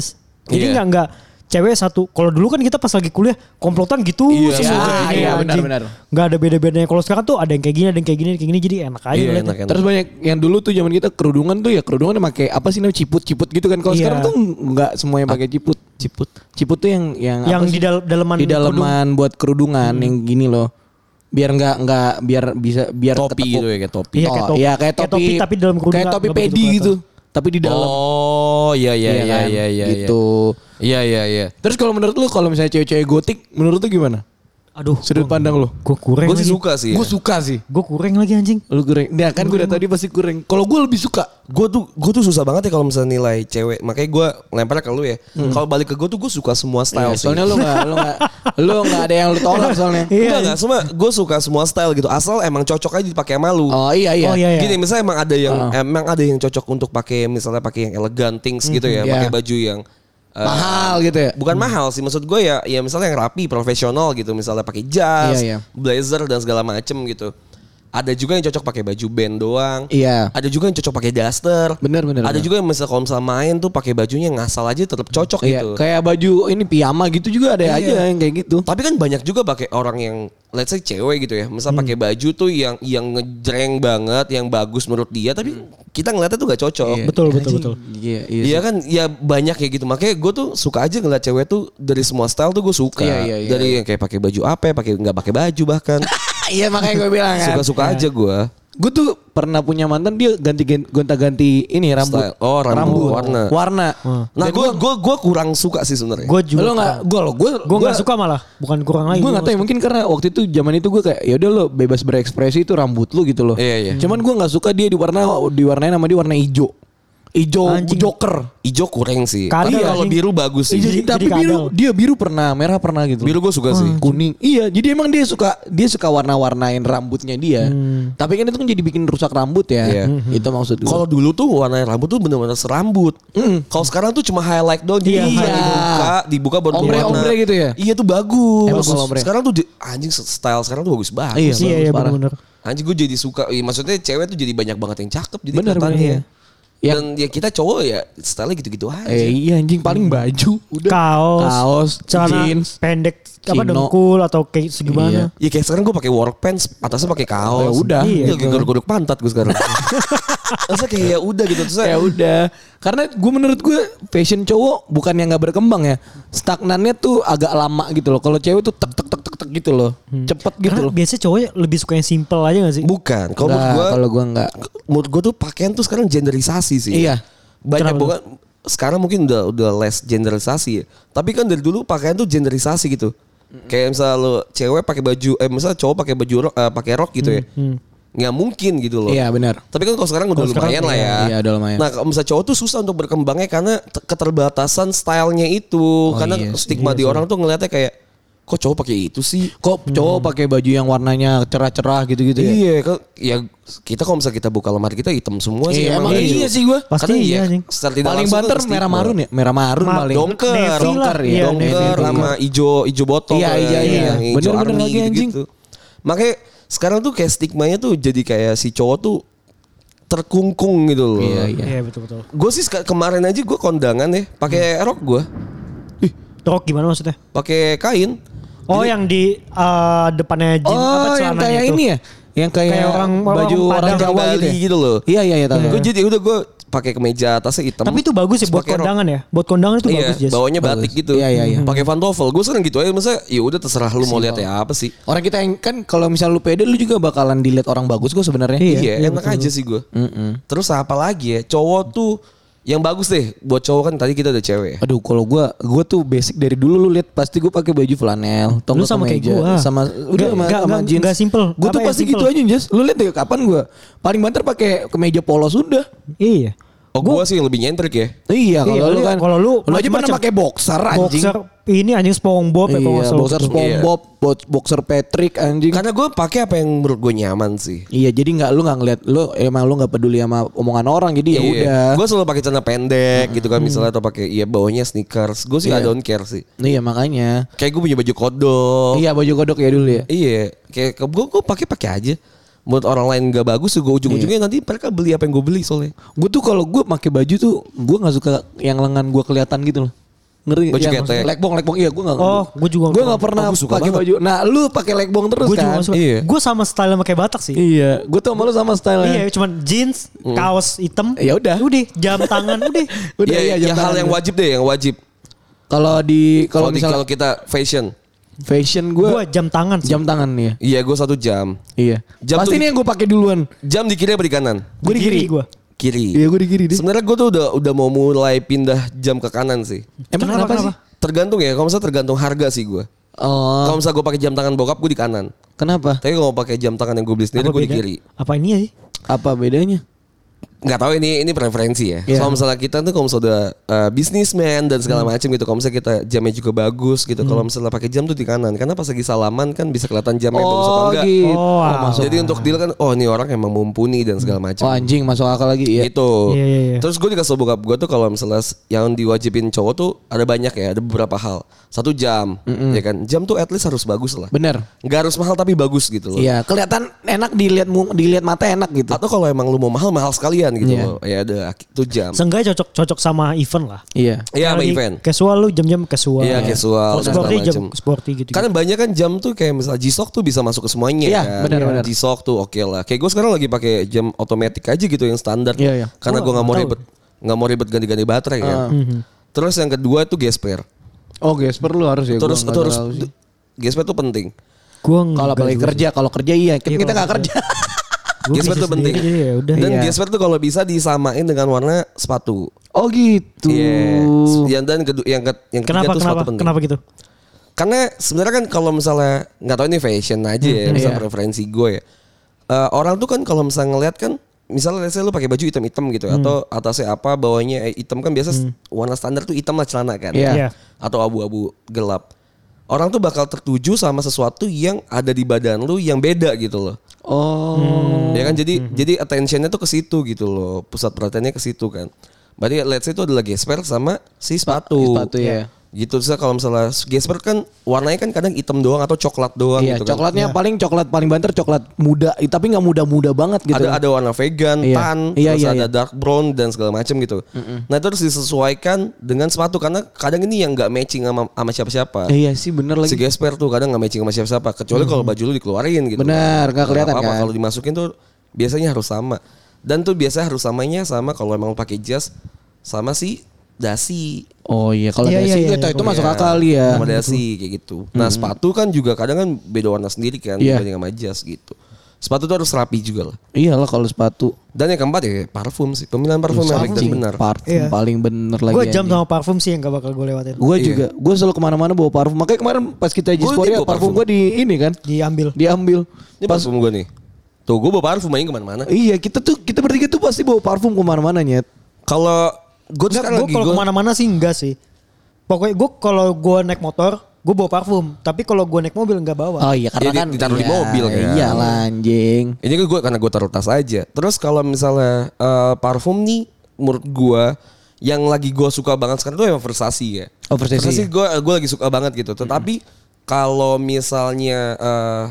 Speaker 3: Jadi
Speaker 4: Iya.
Speaker 3: nggak nggak cewek satu. Kalau dulu kan kita pas lagi kuliah komplotan gitu
Speaker 4: Iya. Iya,
Speaker 3: semua
Speaker 2: iya,
Speaker 3: kayaknya,
Speaker 2: benar,
Speaker 3: anjing.
Speaker 2: benar.
Speaker 3: Nggak ada beda-bedanya. Kalau sekarang tuh ada yang kayak gini, ada yang kayak gini, ada yang kayak gini. Jadi enak aja.
Speaker 4: Iya,
Speaker 3: ngeliatnya.
Speaker 4: enak, enak.
Speaker 2: Terus banyak yang dulu tuh zaman kita kerudungan tuh ya kerudungan yang pakai apa sih namanya ciput-ciput gitu kan. Kalau
Speaker 3: Iya.
Speaker 2: sekarang tuh nggak semua yang pakai ciput. Ciput. Ciput tuh yang yang,
Speaker 3: Yang
Speaker 2: apa
Speaker 3: di
Speaker 2: sih?
Speaker 3: dal- daleman Hmm.
Speaker 2: di daleman buat kerudungan yang gini loh. Biar nggak nggak biar bisa biar
Speaker 4: topi
Speaker 2: ketekuk.
Speaker 4: gitu ya kayak topi.
Speaker 3: Iya,
Speaker 2: Oh,
Speaker 3: kayak topi.
Speaker 2: Iya kayak
Speaker 3: Kayak
Speaker 2: topi.
Speaker 3: topi, tapi dalam kerudungan
Speaker 2: Kayak topi
Speaker 3: nggak begitu
Speaker 2: pedi
Speaker 3: kelihatan.
Speaker 2: gitu. Tapi di dalam.
Speaker 4: Oh iya iya
Speaker 2: Iya
Speaker 4: iya
Speaker 2: kan?
Speaker 4: iya iya.
Speaker 2: Gitu.
Speaker 4: Iya iya iya.
Speaker 2: Terus kalau menurut lu kalau misalnya cewek-cewek gotik menurut lu gimana?
Speaker 3: Aduh.
Speaker 2: Sudut pandang lu?
Speaker 3: Gue kurang
Speaker 4: Gue sih
Speaker 3: lagi.
Speaker 4: suka sih.
Speaker 2: Gue suka sih.
Speaker 3: Gue kurang lagi anjing.
Speaker 2: Lu goreng. Nah kan gue udah tadi pasti goreng. Kalau gue lebih suka.
Speaker 4: Gue tuh gue tuh susah banget ya kalau misalnya nilai cewek. Makanya gue lempar ke lu ya. Kalau balik ke gue tuh gue suka semua style Iya sih.
Speaker 2: soalnya lu gak, lu gak, lu gak ada yang lu tolak soalnya.
Speaker 3: Iya.
Speaker 4: Enggak enggak semua gue suka semua style gitu. Asal emang cocok aja dipakai sama lu.
Speaker 2: Oh iya iya. Ah.
Speaker 3: Oh, iya, iya.
Speaker 4: Gini misalnya emang ada yang emang ada yang cocok untuk pakai misalnya pakai yang elegan things gitu ya,
Speaker 2: Iya.
Speaker 4: pakai baju yang eh,
Speaker 2: Mahal gitu ya.
Speaker 4: bukan mahal sih maksud gue ya ya misalnya yang rapi profesional gitu misalnya pakai jas
Speaker 2: Iya, iya.
Speaker 4: blazer dan segala macem gitu ada juga yang cocok pakai baju band doang
Speaker 2: Iya.
Speaker 4: ada juga yang cocok pakai duster
Speaker 2: Bener, bener,
Speaker 4: ada
Speaker 2: bener.
Speaker 4: juga yang misalnya kalau misalnya main tuh pakai bajunya ngasal aja tetap cocok
Speaker 2: Iya,
Speaker 4: gitu
Speaker 2: kayak baju ini piyama gitu juga ada
Speaker 3: Iya.
Speaker 2: aja yang kayak gitu.
Speaker 4: tapi kan banyak juga pakai orang yang let's say cewek gitu ya misal pakai
Speaker 2: Hmm.
Speaker 4: baju tuh yang yang ngejreng banget yang bagus menurut dia tapi
Speaker 2: Hmm.
Speaker 4: kita ngeliatnya tuh gak cocok
Speaker 3: Betul betul betul.
Speaker 2: Iya, iya.
Speaker 4: Iya kan, ya banyak ya gitu. Makanya gue tuh suka aja ngeliat cewek tuh dari semua style tuh gue suka.
Speaker 2: Iya, iya, iya,
Speaker 4: dari yang kayak pakai baju apa, pakai nggak pakai baju bahkan.
Speaker 2: Iya makanya gue bilang kan.
Speaker 4: Suka-suka aja gue.
Speaker 2: Gue tuh pernah punya mantan dia ganti gonta-ganti ini rambut.
Speaker 4: Style. Oh, rambut, warna.
Speaker 2: Warna. Ya,
Speaker 4: Nah gue gua, gua kurang suka sih sebenarnya.
Speaker 3: Gue
Speaker 2: Lo
Speaker 3: juga.
Speaker 2: nggak, gue lo gue
Speaker 3: Gue nggak suka malah. Bukan kurang lagi.
Speaker 2: Gue gak tau ya mungkin karena waktu itu zaman itu gue kayak ya udah lo bebas berekspresi itu rambut lo gitu loh.
Speaker 4: Iya, iya.
Speaker 2: Cuman gue nggak suka dia diwarna diwarnain sama dia warna hijau. Hijau
Speaker 3: Anjing.
Speaker 2: joker.
Speaker 4: Ijo kurang sih.
Speaker 3: Kadal
Speaker 4: Tapi
Speaker 2: ya,
Speaker 3: lah,
Speaker 4: kalau
Speaker 3: anjing.
Speaker 4: biru bagus sih.
Speaker 3: Ijo- Jadi-
Speaker 2: tapi
Speaker 3: jadi
Speaker 2: biru
Speaker 3: kadal.
Speaker 2: dia biru pernah, merah pernah gitu.
Speaker 4: Biru gue suka sih.
Speaker 2: kuning. Iya, jadi emang dia suka dia suka warna-warnain rambutnya dia. Tapi kan itu kan jadi bikin rusak rambut ya.
Speaker 4: Iya.
Speaker 2: Itu maksud gue.
Speaker 4: Kalau dulu tuh warna rambut tuh bener-bener serambut. Kalau sekarang tuh cuma highlight doang. Jadi
Speaker 2: Hmm. Iya.
Speaker 4: highlight dibuka, dibuka baru
Speaker 2: Ombre-
Speaker 4: berwarna.
Speaker 2: ombre gitu ya?
Speaker 4: Iya tuh bagus.
Speaker 2: Emang kalau ombre.
Speaker 4: Sekarang tuh di- anjing style sekarang tuh bagus banget.
Speaker 2: Iya,
Speaker 3: Iya iya
Speaker 2: bagus, parah.
Speaker 3: benar.
Speaker 4: Anjing gue jadi suka, iya, maksudnya cewek tuh jadi banyak banget yang cakep jadi
Speaker 2: Bener,
Speaker 4: kelihatannya.
Speaker 2: bener, iya.
Speaker 4: Dan ya kita cowok ya style gitu-gitu aja.
Speaker 2: eh, iya anjing paling baju udah
Speaker 3: Kaos,
Speaker 2: kaos,
Speaker 3: celana
Speaker 2: jeans.
Speaker 3: pendek apa
Speaker 2: chino.
Speaker 3: dengkul atau kayak
Speaker 2: Iya.
Speaker 3: segimana.
Speaker 4: Ya kayak sekarang gue pakai work pants, atasnya pakai kaos.
Speaker 2: Ya udah.
Speaker 4: Iya,
Speaker 2: Iya,
Speaker 4: gue godok-godok pantat gue sekarang. Masa kayak ya udah gitu terus
Speaker 2: ya udah karena gue menurut gue fashion cowok bukan yang nggak berkembang ya stagnannya tuh agak lama gitu loh kalau cewek tuh tek tek tek tek tek gitu loh cepet gitu
Speaker 3: Karena
Speaker 2: loh
Speaker 3: biasanya cowoknya lebih suka yang simple aja gak sih?
Speaker 4: Bukan, kalau menurut
Speaker 2: Nggak,
Speaker 4: gue
Speaker 2: Nah, kalau gue nggak
Speaker 4: menurut gue tuh pakaian tuh sekarang genderisasi sih.
Speaker 2: Iya.
Speaker 4: Banyak
Speaker 3: Kenapa
Speaker 4: bukan sekarang mungkin udah udah less genderisasi ya. Tapi kan dari dulu pakaian tuh genderisasi gitu. Kayak misalnya lo cewek pakai baju eh misalnya cowok pakai baju rok, eh, pakai rok gitu ya. Nggak mungkin gitu loh.
Speaker 2: Hmm, iya benar
Speaker 4: Tapi kan kalau sekarang udah
Speaker 3: Kalau sekarang
Speaker 4: lumayan lah ya.
Speaker 2: iya, udah lumayan.
Speaker 4: Nah, kalau misalnya cowok tuh susah untuk berkembangnya karena t- keterbatasan stylenya itu. karena
Speaker 2: iya sih,
Speaker 4: stigma di orang tuh ngeliatnya kayak kok cowok pakai itu sih.
Speaker 2: kok cowok pakai baju yang warnanya cerah-cerah gitu-gitu ya
Speaker 4: Hmm. Iya, kan ya kita kalau misalnya kita buka lemari kita hitam semua sih.
Speaker 2: Iya, emang
Speaker 4: baju.
Speaker 2: iya sih gua.
Speaker 3: Pasti
Speaker 4: Karena
Speaker 3: iya,
Speaker 4: ya,
Speaker 3: anjing.
Speaker 4: secara tidak
Speaker 2: paling
Speaker 4: langsung
Speaker 2: banter
Speaker 4: tuh
Speaker 2: merah
Speaker 4: stigma.
Speaker 2: marun ya merah marun
Speaker 3: Ma-
Speaker 2: paling ya.
Speaker 4: Dongker,
Speaker 3: Navy
Speaker 4: dongker,
Speaker 3: lah. Iya,
Speaker 4: dongker
Speaker 3: navy,
Speaker 4: sama ijo ijo botol.
Speaker 2: Iya, iya, iya.
Speaker 4: Yang ijo
Speaker 2: Bener-bener
Speaker 4: army
Speaker 2: lagi,
Speaker 4: gitu-gitu. Makanya sekarang tuh kayak stigmanya tuh jadi kayak si cowok tuh terkungkung gitu loh.
Speaker 2: Iya, iya.
Speaker 3: Iya betul betul.
Speaker 4: Gue sih seka- kemarin aja gue kondangan ya, pakai
Speaker 2: Hmm.
Speaker 4: rok gue,
Speaker 3: Rok gimana maksudnya?
Speaker 4: pakai kain.
Speaker 3: Oh yang di eh, depannya gym
Speaker 2: Oh, yang
Speaker 3: celananya
Speaker 2: kayak
Speaker 3: itu?
Speaker 2: ini ya? Yang kayak,
Speaker 3: Kayak orang- orang
Speaker 2: baju
Speaker 3: Padang.
Speaker 2: orang Jawa
Speaker 4: Bali
Speaker 2: gitu, ya?
Speaker 4: gitu loh.
Speaker 2: Iya, iya, iya. tahu,
Speaker 4: Gue
Speaker 2: tahu.
Speaker 4: jadi udah gue pakai kemeja atasnya hitam.
Speaker 3: Tapi itu bagus sih buat
Speaker 4: Pakai rok.
Speaker 3: kondangan ya. Buat kondangan itu
Speaker 4: Iya,
Speaker 3: bagus Jas.
Speaker 4: bawanya
Speaker 2: Bagus.
Speaker 4: batik gitu.
Speaker 2: Iya, iya, iya.
Speaker 4: Pakai pantofel. Gue sekarang gitu aja masa ya udah terserah lu mau lihat ya apa sih.
Speaker 2: Orang kita yang kan kalau misal lu pede lu juga bakalan dilihat orang bagus kok sebenarnya.
Speaker 3: Iya,
Speaker 4: Iya, enak aja sih gue.
Speaker 2: Mm-mm.
Speaker 4: Terus apa lagi ya? Cowok tuh yang bagus deh buat cowok kan tadi kita ada cewek.
Speaker 2: Aduh, kalau gua gua tuh basic dari dulu lu lihat pasti gua pakai baju flanel, tongkat
Speaker 3: Lu sama kayak
Speaker 2: kemeja,
Speaker 3: gua.
Speaker 2: sama udah
Speaker 3: Nggak-
Speaker 2: sama,
Speaker 3: nggak-
Speaker 2: sama
Speaker 3: nggak-
Speaker 2: jeans.
Speaker 3: nggak simple.
Speaker 2: Gua tuh
Speaker 3: Apa ya
Speaker 2: pasti
Speaker 3: simple?
Speaker 2: gitu aja, Jas. Lu lihat deh kapan gua paling banter pakai kemeja polos udah.
Speaker 3: Iya.
Speaker 4: Oh gue sih yang lebih nyentrik ya.
Speaker 2: Iya,
Speaker 3: Iya,
Speaker 2: kalau lu
Speaker 3: lu-
Speaker 2: kan
Speaker 3: kalau lu
Speaker 2: lu aja pernah
Speaker 3: macem-macem.
Speaker 2: pakai boxer anjing.
Speaker 3: Boxer ini anjing SpongeBob ya kalau nggak
Speaker 2: Iya,
Speaker 3: salah Kan-
Speaker 2: boxer
Speaker 3: gitu.
Speaker 2: SpongeBob, bo- boxer Patrick anjing.
Speaker 4: Karena gue pakai apa yang menurut gue nyaman sih.
Speaker 2: Iya, jadi nggak lu nggak ngeliat lu eh, emang lu nggak peduli sama omongan orang jadi ya udah.
Speaker 4: Gue Iya. selalu pakai celana pendek gitu kan misalnya atau pakai iya bawahnya sneakers. Gue sih I don't care sih.
Speaker 2: Iya makanya.
Speaker 4: Kayak gue punya baju kodok. Iya.
Speaker 2: Iya baju kodok ya dulu ya.
Speaker 4: Kayak gue gue pakai pakai aja. Buat orang lain gak bagus gue
Speaker 2: Iya.
Speaker 4: ujung-ujungnya nanti mereka beli apa yang gue beli soalnya.
Speaker 2: Gue tuh kalau gue pakai baju tuh gue nggak suka yang lengan gue kelihatan gitu loh. Ngeri
Speaker 4: Baju
Speaker 2: yang
Speaker 4: ketek.
Speaker 2: legbong legbong iya gue nggak.
Speaker 3: Oh, gua juga
Speaker 2: Gue
Speaker 3: suka.
Speaker 2: nggak pernah
Speaker 4: Oh, gua suka
Speaker 2: pakai
Speaker 4: banget.
Speaker 2: baju. Nah lu pakai legbong terus
Speaker 3: Gue juga
Speaker 2: kan.
Speaker 3: masuk.
Speaker 4: Iya.
Speaker 3: Gue sama style sama kayak Batak sih.
Speaker 2: Iya. Gue tuh malu sama style.
Speaker 3: Iya, cuman jeans, kaos hitam.
Speaker 2: Ya udah.
Speaker 3: Udah, jam tangan udah.
Speaker 2: Udah, iya,
Speaker 4: Iya,
Speaker 2: jam
Speaker 4: ya, hal
Speaker 2: tangan.
Speaker 4: yang wajib deh, yang wajib.
Speaker 2: Kalau di
Speaker 4: Kalau
Speaker 2: kalau
Speaker 4: di-
Speaker 2: misalnya
Speaker 4: kalau kita fashion,
Speaker 2: fashion
Speaker 3: Gue
Speaker 2: gue
Speaker 3: jam tangan sih.
Speaker 2: jam tangan ya.
Speaker 4: iya gue satu jam.
Speaker 2: Iya.
Speaker 4: Jam
Speaker 2: Pasti
Speaker 4: tuh-
Speaker 2: ini yang gue pakai duluan.
Speaker 4: Jam di kiri apa di kanan?
Speaker 2: Gue di kiri.
Speaker 3: gue.
Speaker 4: Kiri.
Speaker 2: Iya gue di kiri deh.
Speaker 4: Sebenarnya gue tuh udah udah mau mulai pindah jam ke kanan sih.
Speaker 2: Emang
Speaker 3: Kenapa,
Speaker 2: kenapa, sih?
Speaker 3: kenapa?
Speaker 4: Tergantung ya, kalau misalnya tergantung harga sih gue.
Speaker 2: Oh,
Speaker 4: Kalau misalnya gue pakai jam tangan bokap gue di kanan.
Speaker 2: kenapa?
Speaker 4: Tapi kalau pakai jam tangan yang gue beli sendiri gue di kiri.
Speaker 3: Iya kan? Apa ini ya sih?
Speaker 2: Apa bedanya?
Speaker 4: Nggak tahu ini ini preferensi ya.
Speaker 2: Iya. Hmm.
Speaker 4: Kalau misalnya kita tuh kalau misalnya udah uh, businessman dan segala macam gitu, kalau misalnya kita jamnya juga bagus gitu. Kalau misalnya pakai jam tuh di kanan, karena pas lagi salaman kan bisa kelihatan jamnya bagus apa
Speaker 2: Oh,
Speaker 4: enggak.
Speaker 2: gitu.
Speaker 3: Oh,
Speaker 2: Oh,
Speaker 3: wow.
Speaker 2: masuk.
Speaker 4: Jadi untuk deal kan, oh ini orang emang mumpuni dan segala macam.
Speaker 2: Oh, anjing masuk akal lagi ya.
Speaker 4: gitu.
Speaker 3: Iya, iya, iya.
Speaker 4: Terus gue dikasih bokap gue tuh kalau misalnya s- yang diwajibin cowok tuh ada banyak ya, ada beberapa hal. Satu jam, ya kan. Jam tuh at least harus bagus lah.
Speaker 2: Bener.
Speaker 4: Nggak harus mahal tapi bagus gitu loh.
Speaker 2: Iya, kelihatan enak dilihat mu- dilihat mata enak gitu.
Speaker 4: Atau kalau emang lu mau mahal mahal sekalian gitu
Speaker 2: Iya.
Speaker 4: loh. Ya ada itu jam.
Speaker 3: Seenggaknya cocok-cocok sama event lah.
Speaker 2: Iya.
Speaker 4: Iya sama
Speaker 3: Kalau di
Speaker 4: event.
Speaker 3: Casual lu jam-jam casual.
Speaker 4: Iya casual
Speaker 3: Kalau
Speaker 4: dan
Speaker 3: sporty
Speaker 4: segala
Speaker 3: jam
Speaker 4: macam.
Speaker 3: sporty gitu.
Speaker 4: Karena banyak kan jam tuh kayak misalnya G-Shock tuh bisa masuk ke semuanya
Speaker 2: Iya,
Speaker 4: kan.
Speaker 2: benar-benar.
Speaker 4: G-Shock tuh oke lah. Kayak gue sekarang lagi pakai jam otomatis aja gitu yang standar.
Speaker 2: Iya, Ah. iya.
Speaker 4: Karena
Speaker 3: Wah,
Speaker 4: gue nggak mau
Speaker 3: tahu.
Speaker 4: ribet, nggak mau ribet ganti-ganti baterai kan. Terus yang kedua tuh gesper.
Speaker 2: Oh, gesper lu harus ya.
Speaker 4: Terus
Speaker 2: gua
Speaker 4: terus
Speaker 2: nggak tahu sih.
Speaker 4: gesper tuh penting.
Speaker 3: Gue
Speaker 2: kalau balik kerja, kalau kerja iya, kita
Speaker 3: kalau
Speaker 2: nggak kerja.
Speaker 4: Gesper tuh penting.
Speaker 3: Iya udah.
Speaker 4: Dan
Speaker 2: Iya.
Speaker 4: gesper tuh kalau bisa disamain dengan warna sepatu.
Speaker 2: Oh gitu.
Speaker 4: Iya. Yang dan kedua yang, ke, yang ketiga
Speaker 3: Kenapa
Speaker 4: tuh
Speaker 3: kenapa
Speaker 4: sepatu penting.
Speaker 3: kenapa gitu?
Speaker 4: Karena sebenarnya kan kalau misalnya nggak tahu ini fashion aja ya, misal
Speaker 2: iya.
Speaker 4: preferensi gue ya. Eh, orang tuh kan kalau misalnya ngeliat kan misalnya let's say lu pakai baju hitam-hitam gitu
Speaker 2: Hmm.
Speaker 4: atau atasnya apa bawahnya eh, hitam kan biasa s- warna standar tuh hitam lah celana kan.
Speaker 2: Iya.
Speaker 3: Iya.
Speaker 4: Atau abu-abu gelap. Orang tuh bakal tertuju sama sesuatu yang ada di badan lu yang beda gitu loh.
Speaker 2: Oh.
Speaker 4: Ya kan jadi jadi attentionnya tuh ke situ gitu loh. Pusat perhatiannya ke situ kan. Berarti let's say itu adalah gesper sama si sepatu.
Speaker 2: Sepatu ya.
Speaker 4: Gitu sih kalau misalnya gesper kan warnanya kan kadang hitam doang atau coklat doang
Speaker 2: Iya,
Speaker 4: gitu kan.
Speaker 2: coklatnya paling coklat paling banter coklat muda, eh, tapi nggak muda-muda banget gitu.
Speaker 4: Ada ada warna vegan,
Speaker 2: Iya.
Speaker 4: tan,
Speaker 2: Iya,
Speaker 4: terus
Speaker 2: iya, iya.
Speaker 4: ada dark brown dan segala macam gitu. Nah, itu harus disesuaikan dengan sepatu karena kadang ini yang nggak matching sama sama siapa-siapa.
Speaker 2: Eh, Iya sih bener
Speaker 4: Si
Speaker 2: lagi.
Speaker 4: gesper tuh kadang nggak matching sama siapa-siapa kecuali kalau baju lu dikeluarin gitu.
Speaker 2: Hmm. Benar, nggak kelihatan
Speaker 4: apa-apa.
Speaker 2: kan.
Speaker 4: Kalau dimasukin tuh biasanya harus sama. Dan tuh biasanya harus samanya sama kalau emang pakai jas sama si dasi.
Speaker 2: Oh iya, kalau
Speaker 3: Iya,
Speaker 2: dari
Speaker 3: iya,
Speaker 2: situ
Speaker 3: iya,
Speaker 2: itu,
Speaker 3: iya.
Speaker 2: itu masuk
Speaker 4: Iya,
Speaker 2: akal ya.
Speaker 4: Sama dasi kayak gitu. Nah, sepatu kan juga kadang kan beda warna sendiri kan
Speaker 2: Iya.
Speaker 4: dibanding sama jas gitu. Sepatu tuh harus rapi juga lah.
Speaker 2: Iya lah kalau sepatu.
Speaker 4: Dan yang keempat ya parfum sih. Pemilihan parfum yang baik dan
Speaker 2: Anjing,
Speaker 4: benar.
Speaker 2: Parfum
Speaker 3: Iya.
Speaker 2: paling bener lagi.
Speaker 3: Gue jam
Speaker 2: anjing.
Speaker 3: sama parfum sih yang gak bakal gue lewatin.
Speaker 2: Gue juga, gue selalu kemana-mana bawa parfum. Makanya kemarin pas kita
Speaker 4: Gua
Speaker 2: Jisporia,
Speaker 4: juga bawa
Speaker 2: parfum
Speaker 4: parfum.
Speaker 2: gue di ini kan,
Speaker 3: Diambil.
Speaker 2: diambil.
Speaker 4: Ini parfum gue nih. Tuh gue bawa parfum aja kemana-mana.
Speaker 2: Iya, kita tuh kita bertiga tuh pasti bawa parfum kemana-mana nyet.
Speaker 4: Kalau gue
Speaker 3: Enggak,
Speaker 4: sekarang
Speaker 3: gue
Speaker 4: lagi
Speaker 3: kalau
Speaker 4: gua-
Speaker 3: kemana-mana sih enggak sih. Pokoknya gue kalau gue naik motor, gue bawa parfum. Tapi kalau gue naik mobil enggak bawa.
Speaker 2: Oh iya, karena
Speaker 4: Iya, di-
Speaker 2: kan
Speaker 4: ditaruh di
Speaker 2: iya,
Speaker 4: mobil kan.
Speaker 2: Iya lah, anjing.
Speaker 4: Ini kan gue karena gue taruh tas aja. Terus kalau misalnya eh, parfum nih, menurut gue yang lagi gue suka banget sekarang tuh emang Versace ya.
Speaker 2: Oh, Versace
Speaker 4: gue gue lagi suka banget gitu. Tetapi kalau misalnya eh,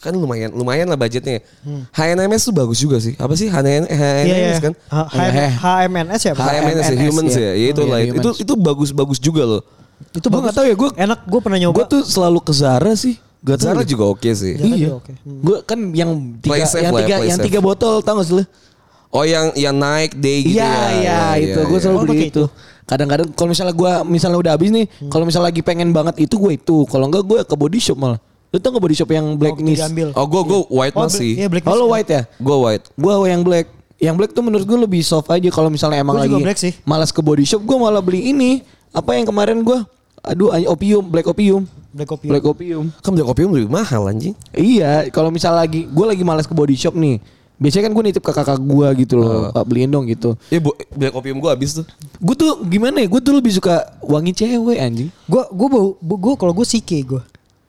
Speaker 4: kan lumayan lumayan lah budgetnya. ya.
Speaker 2: Hmm.
Speaker 4: HNMS tuh bagus juga sih. Apa sih HNMS,
Speaker 2: Iya,
Speaker 4: HNMS kan?
Speaker 3: H- Iya, H- HMNS ya? Pak?
Speaker 4: HMNS ya,
Speaker 2: HMNS,
Speaker 4: humans
Speaker 2: ya.
Speaker 4: ya. Ya itu
Speaker 2: Iya,
Speaker 4: lah. Itu
Speaker 2: humans.
Speaker 4: itu bagus-bagus juga loh.
Speaker 3: Itu
Speaker 2: Gua
Speaker 3: bagus.
Speaker 2: nggak tahu ya, gua-
Speaker 3: enak gue pernah nyoba.
Speaker 2: Gue tuh selalu ke Zara sih. Gak tahu
Speaker 4: Zara
Speaker 2: deh.
Speaker 4: juga oke sih.
Speaker 3: Zara
Speaker 2: Iya.
Speaker 3: juga oke. Hmm.
Speaker 2: Gue kan yang tiga
Speaker 4: Play safe
Speaker 2: yang
Speaker 4: lah ya,
Speaker 2: tiga
Speaker 4: play
Speaker 2: yang
Speaker 4: safe.
Speaker 2: tiga botol tau gak sih lu?
Speaker 4: Oh yang yang naik day gitu
Speaker 2: Iya
Speaker 4: ya.
Speaker 2: iya
Speaker 4: Oh,
Speaker 2: itu gue selalu
Speaker 3: Oh,
Speaker 2: beli
Speaker 3: pakai
Speaker 2: itu. Kadang-kadang kalau misalnya gue misalnya udah habis nih,
Speaker 3: Hmm.
Speaker 2: kalau misalnya lagi pengen banget itu gue itu. Kalau enggak gue ke body shop malah. Lu tau gak body shop yang black
Speaker 3: Waktu
Speaker 2: nis?
Speaker 3: diambil.
Speaker 4: Oh gue gue white
Speaker 3: Oh,
Speaker 4: masih.
Speaker 3: iya, Black
Speaker 2: Oh
Speaker 3: Nis.
Speaker 2: lu white ya?
Speaker 4: Gue white.
Speaker 2: Gue yang black. Yang black tuh menurut gue lebih soft aja kalau misalnya emang
Speaker 3: Gua
Speaker 2: lagi
Speaker 3: juga black sih.
Speaker 2: malas ke body shop gue malah beli ini apa yang kemarin gue aduh ay- opium black opium
Speaker 3: Black kopi.
Speaker 2: black opium
Speaker 4: Kan beli kopi lebih mahal anjing.
Speaker 2: iya kalau misalnya lagi gue lagi malas ke body shop nih biasanya kan gue nitip ke kakak gue gitu loh pak beliin dong gitu
Speaker 4: Ya bu, black opium gue habis tuh.
Speaker 2: gue tuh gimana ya gue tuh lebih suka wangi cewek anjing
Speaker 3: Gue gue bau gue kalau gue sike gue.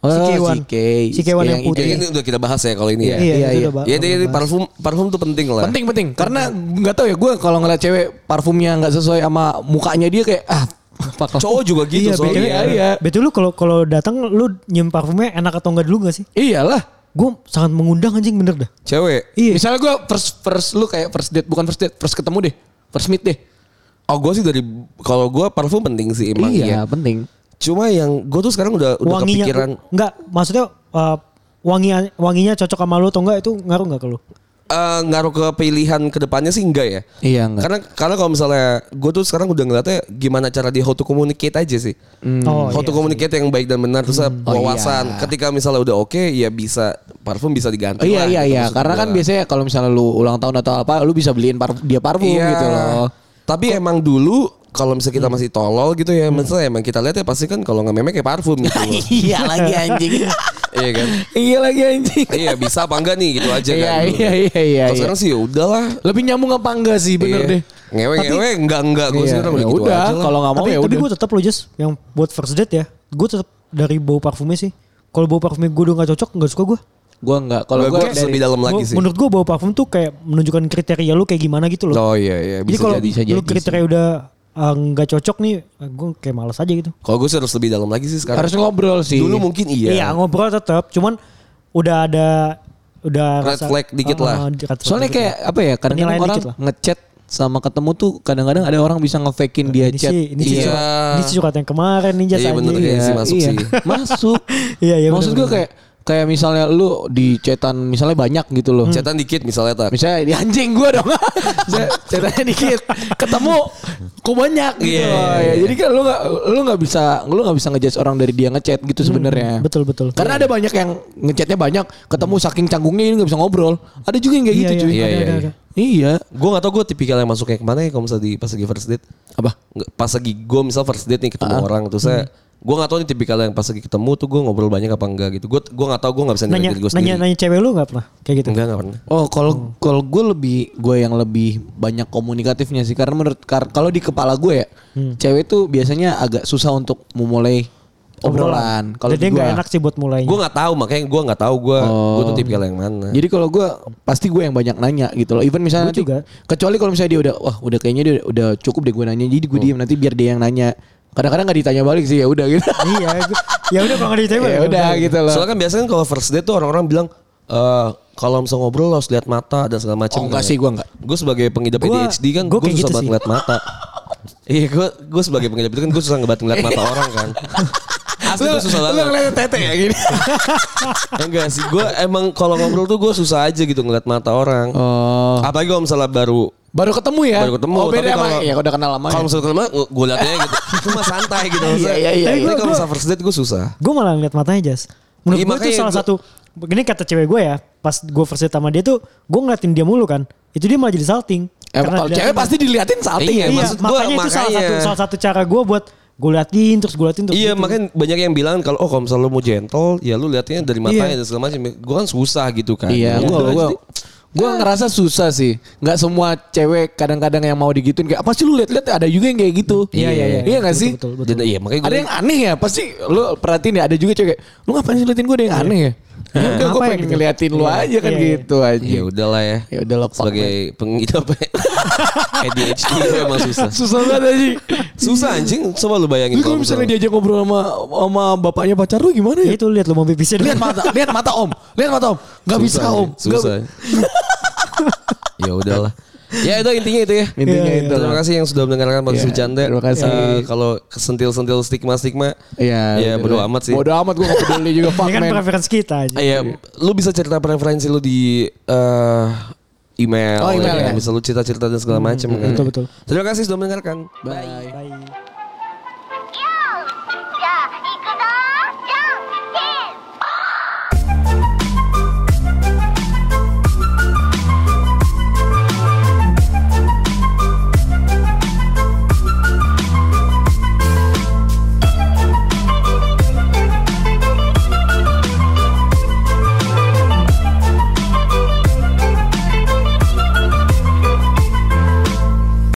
Speaker 2: Oh,
Speaker 3: Sikewan.
Speaker 2: sike.
Speaker 3: Sikewan
Speaker 2: Yang
Speaker 3: yang putih.
Speaker 4: Jadi ini udah kita bahas ya kalau ini ya.
Speaker 3: Iya,
Speaker 2: Iya,
Speaker 3: itu
Speaker 2: iya.
Speaker 3: udah ba-
Speaker 4: Ya jadi
Speaker 3: bahas.
Speaker 4: parfum parfum tuh penting lah.
Speaker 2: penting penting karena nggak tahu ya gue kalau ngeliat cewek parfumnya nggak sesuai sama mukanya dia kayak ah fuck lah.
Speaker 4: Cowok juga gitu
Speaker 2: Iya,
Speaker 4: soalnya.
Speaker 2: beda- iya.
Speaker 3: Betul lu kalau kalau datang lu nyium parfumnya enak atau enggak dulu gak sih?
Speaker 2: iyalah
Speaker 3: Gue sangat mengundang anjing bener dah.
Speaker 4: Cewek.
Speaker 3: Iya.
Speaker 2: Misalnya gue first first lu kayak first date bukan first date first ketemu deh first meet deh.
Speaker 4: Oh gue sih dari kalau gue parfum penting sih emang
Speaker 2: Gitu
Speaker 4: ya.
Speaker 2: Iya, penting.
Speaker 4: Cuma yang gue tuh sekarang udah udah
Speaker 3: wanginya
Speaker 4: kepikiran
Speaker 3: enggak maksudnya uh, wangi wanginya cocok sama lu atau enggak itu ngaruh enggak ke lu?
Speaker 4: eh ngaruh ke pilihan kedepannya sih enggak ya.
Speaker 2: Iya enggak.
Speaker 4: Karena karena kalau misalnya gue tuh sekarang udah ngeliatnya gimana cara di how to communicate aja sih.
Speaker 3: Oh,
Speaker 4: how to
Speaker 3: iya.
Speaker 4: communicate yang baik dan benar terus
Speaker 2: Hmm. Oh,
Speaker 4: wawasan.
Speaker 2: iya.
Speaker 4: Ketika misalnya udah oke ya bisa parfum bisa diganti.
Speaker 2: Oh, iya
Speaker 4: lah,
Speaker 2: iya
Speaker 4: gitu
Speaker 2: iya
Speaker 4: maksud
Speaker 2: karena
Speaker 4: gua.
Speaker 2: kan biasanya kalau misalnya lu ulang tahun atau apa lu bisa beliin parfum, dia parfum
Speaker 4: Iya.
Speaker 2: gitu loh.
Speaker 4: Tapi emang dulu kalau misalnya kita masih tolol gitu ya, misalnya emang kita lihat ya pasti kan kalau nggak memek kayak parfum gitu. loh.
Speaker 2: Hmm. iya lagi anjing.
Speaker 4: iya kan?
Speaker 2: iya lagi anjing.
Speaker 4: Iya bisa apa enggak nih gitu aja
Speaker 2: Iya
Speaker 4: kan.
Speaker 2: iya iya iya.
Speaker 4: Kalau
Speaker 2: iya.
Speaker 4: sekarang sih ya udahlah.
Speaker 2: Lebih nyambung apa enggak sih bener
Speaker 4: Iya.
Speaker 2: deh.
Speaker 4: Ngewe-ngewe enggak enggak gue
Speaker 2: Iya, ya
Speaker 4: sekarang udah gitu
Speaker 2: udah
Speaker 4: aja lah.
Speaker 2: kalau nggak mau
Speaker 3: tapi
Speaker 2: ya
Speaker 3: tapi
Speaker 2: udah.
Speaker 3: gue tetap lo just yang buat first date ya. Gue tetap dari bau parfumnya sih. Kalau bau parfumnya gue udah gak cocok nggak suka gue.
Speaker 2: Gue enggak kalau
Speaker 4: Gua-
Speaker 2: gue
Speaker 4: gua lebih dalam lagi sih.
Speaker 3: Menurut gue bau parfum tuh kayak menunjukkan kriteria lu kayak gimana gitu loh.
Speaker 4: Oh iya iya
Speaker 3: jadi
Speaker 4: bisa
Speaker 3: kalau
Speaker 4: jadi.
Speaker 2: bisa
Speaker 3: lu
Speaker 2: jadi
Speaker 3: kriteria udah uh, nggak cocok nih, gue kayak malas aja gitu.
Speaker 4: Kalau gue sih harus lebih dalam lagi sih sekarang.
Speaker 2: harus ngobrol sih.
Speaker 4: Dulu mungkin iya.
Speaker 3: Iya ngobrol tetap, cuman udah ada udah
Speaker 4: Red flag dikit
Speaker 3: Ah,
Speaker 4: lah.
Speaker 3: ah, red flag
Speaker 2: Soalnya
Speaker 3: dikit
Speaker 2: kayak apa ya kadang-kadang
Speaker 3: Penilaian
Speaker 2: orang
Speaker 3: dikit lah.
Speaker 2: ngechat sama ketemu tuh kadang-kadang ada orang bisa ngefakein
Speaker 3: lah.
Speaker 2: dia
Speaker 3: ini
Speaker 2: chat.
Speaker 3: sih ini sih
Speaker 4: Iya.
Speaker 3: surat, ini sih surat yang kemarin nih jasa
Speaker 4: Iya, bener
Speaker 3: anjing.
Speaker 4: ya. sih masuk sih.
Speaker 2: Masuk.
Speaker 3: Iya, iya,
Speaker 2: Maksud gue
Speaker 3: bener-bener.
Speaker 2: kayak kayak misalnya lu di cetan misalnya banyak gitu
Speaker 3: Hmm.
Speaker 2: loh.
Speaker 4: Cetan dikit misalnya tak.
Speaker 2: Misalnya di anjing gue dong. Misalnya cetannya dikit. Ketemu kok banyak gitu.
Speaker 4: Iya,
Speaker 2: loh.
Speaker 4: iya,
Speaker 2: Ya, Jadi kan lu gak, lu nggak bisa lu nggak bisa ngejudge orang dari dia ngechat gitu sebenarnya.
Speaker 3: Hmm, Betul betul. Iya.
Speaker 2: Karena ada banyak yang ngechatnya banyak, ketemu saking canggungnya ini nggak bisa ngobrol. Ada juga yang kayak
Speaker 3: Iya,
Speaker 2: gitu
Speaker 3: iya,
Speaker 2: cuy.
Speaker 4: Iya,
Speaker 3: ada,
Speaker 4: iya,
Speaker 3: ada,
Speaker 4: iya.
Speaker 3: ada.
Speaker 2: Iya.
Speaker 4: Gue gak tau gue tipikal yang masuknya kemana ya kalau misalnya di pas lagi first date.
Speaker 2: Apa?
Speaker 4: Nggak, Pas lagi gue misal first date nih
Speaker 3: Ah.
Speaker 4: ketemu orang terus saya
Speaker 3: Hmm.
Speaker 4: gue gak tau nih tipikal yang pas lagi ketemu tuh gue ngobrol banyak apa enggak gitu. Gue gue gak tau gue gak bisa nilai
Speaker 3: nanya
Speaker 4: diri gue
Speaker 3: nanya
Speaker 4: sendiri.
Speaker 3: nanya cewek lu nggak pernah kayak gitu
Speaker 4: Enggak gak pernah.
Speaker 2: Oh,
Speaker 3: Hmm.
Speaker 2: kalau kalau gue lebih gue yang lebih banyak komunikatifnya sih karena menurut kar- kalau di kepala gue ya
Speaker 3: Hmm.
Speaker 2: cewek tuh biasanya agak susah untuk memulai obrolan. Kalau
Speaker 3: jadi
Speaker 2: di
Speaker 3: nggak
Speaker 2: gue,
Speaker 3: enak sih buat mulainya
Speaker 4: Gue gak tau makanya gue gak tau gue
Speaker 3: Oh.
Speaker 4: gue tuh tipikal yang mana.
Speaker 2: jadi kalau gue pasti gue yang banyak nanya gitu loh. Even misalnya
Speaker 3: Gua
Speaker 2: nanti-
Speaker 3: juga.
Speaker 2: kecuali kalau misalnya dia udah wah udah kayaknya dia udah, udah cukup deh gue nanya. Jadi
Speaker 3: Oh.
Speaker 2: gue diem nanti biar dia yang nanya. Kadang-kadang nggak ditanya balik sih ya udah gitu.
Speaker 3: iya gua- ya udah kalau nggak ditembak
Speaker 2: ya udah gitu loh.
Speaker 4: Soalnya kan biasanya kalau first date tuh orang-orang bilang eh kalau misalnya ngobrol harus lihat mata dan segala macam.
Speaker 2: Oh, enggak sih, gua enggak.
Speaker 4: Gue sebagai pengidap
Speaker 3: Gua-
Speaker 4: ADHD kan
Speaker 3: gua
Speaker 4: gue
Speaker 3: kayak
Speaker 4: susah
Speaker 3: gitu
Speaker 4: banget
Speaker 3: sih.
Speaker 4: ngeliat mata. Iya gue gue sebagai pengidap itu kan gue susah ngebat ngeliat mata orang kan. Asli gue susah
Speaker 2: Lu
Speaker 4: banget.
Speaker 2: ngeliat tete ya gini.
Speaker 4: Enggak sih gue emang kalau ngobrol tuh gue susah aja gitu ngeliat mata orang.
Speaker 2: Oh.
Speaker 4: Apalagi kalau misalnya baru
Speaker 2: Baru ketemu ya?
Speaker 4: Baru ketemu,
Speaker 2: Oh beda
Speaker 4: tapi
Speaker 2: sama
Speaker 4: kalau-
Speaker 2: ya udah kenal lama.
Speaker 4: kalau misalnya kenal gue liatnya gitu. Cuma santai gitu.
Speaker 2: Iya, iya, iya,
Speaker 4: Tapi
Speaker 2: iya.
Speaker 4: kalau misalnya first date gue susah.
Speaker 3: gue malah ngeliat matanya Jas
Speaker 4: Iya,
Speaker 3: menurut gue itu
Speaker 4: makanya
Speaker 3: salah
Speaker 4: gua-
Speaker 3: satu ini kata cewek gue ya pas gue first date sama dia tuh gue ngeliatin dia mulu kan itu dia malah jadi salting
Speaker 2: Eh,
Speaker 3: Karena
Speaker 2: kalau
Speaker 3: dia-
Speaker 2: cewek pasti diliatin salting ya.
Speaker 4: Iya,
Speaker 3: iya,
Speaker 4: maksud gua,
Speaker 3: makanya itu salah
Speaker 4: makanya.
Speaker 3: satu salah satu cara gue buat gue liatin terus gue liatin terus
Speaker 4: Iya
Speaker 3: gitu.
Speaker 4: makanya banyak yang bilang kalau oh kalau misalnya lu mau gentle ya lu liatnya dari matanya
Speaker 3: Iya.
Speaker 4: dan segala macam. Gue kan susah gitu kan.
Speaker 2: Iya, gua
Speaker 4: Ya udah,
Speaker 2: gua
Speaker 4: jadi-
Speaker 2: gua ngerasa susah sih. Nggak semua cewek kadang-kadang yang mau digituin kayak apa sih lu lihat-liat ada juga yang kayak gitu.
Speaker 3: Iya, iya, iya.
Speaker 2: Iya nggak
Speaker 3: Betul,
Speaker 2: sih?
Speaker 3: betul, betul.
Speaker 4: Dan iya makanya
Speaker 2: Ada
Speaker 4: gue
Speaker 3: Iya.
Speaker 2: yang aneh ya pasti lu perhatiin ya ada juga cewek kayak, lu ngapain sih liatin gue ada yang aneh ya. Udah gue
Speaker 3: Kenapa ya
Speaker 2: pengen
Speaker 3: gitu?
Speaker 2: ngeliatin lu
Speaker 3: Iya,
Speaker 2: aja kan
Speaker 3: iya, iya.
Speaker 2: gitu aja.
Speaker 4: Ya udahlah ya.
Speaker 2: Ya udah lah fuck
Speaker 4: Sebagai pengidap ADHD itu emang susah.
Speaker 2: Susah banget anjing.
Speaker 4: Susah anjing, coba lu bayangin.
Speaker 2: Lu Iya. kalau misalnya diajak ngobrol sama sama bapaknya pacar lu gimana ya?
Speaker 3: Itu lihat lo mau kan pipisnya
Speaker 2: Lihat
Speaker 3: dulu.
Speaker 2: mata, lihat mata om, lihat mata om. Gak
Speaker 4: Susah,
Speaker 2: bisa om. Nggak-
Speaker 4: Susah. ya udahlah. Ya itu intinya itu ya.
Speaker 2: Intinya
Speaker 3: Iya, iya.
Speaker 2: itu.
Speaker 4: Terima kasih yang sudah mendengarkan podcast
Speaker 2: Iya,
Speaker 4: bercanda.
Speaker 2: terima kasih.
Speaker 4: Eh, kalau kesentil-sentil stigma-stigma,
Speaker 2: Iya.
Speaker 4: ya
Speaker 2: bener.
Speaker 4: bodo amat sih.
Speaker 2: Bodo amat gue gak peduli juga fuck
Speaker 3: Ini kan
Speaker 2: man.
Speaker 3: preferensi kita aja.
Speaker 4: Ah, Iya, lu bisa cerita preferensi lu di eh, email,
Speaker 2: Oh, email ya. Hmm,
Speaker 4: Bisa lu cerita-cerita dan segala macam. kan.
Speaker 3: betul, betul.
Speaker 4: Terima kasih sudah mendengarkan.
Speaker 2: Bye.
Speaker 3: Bye.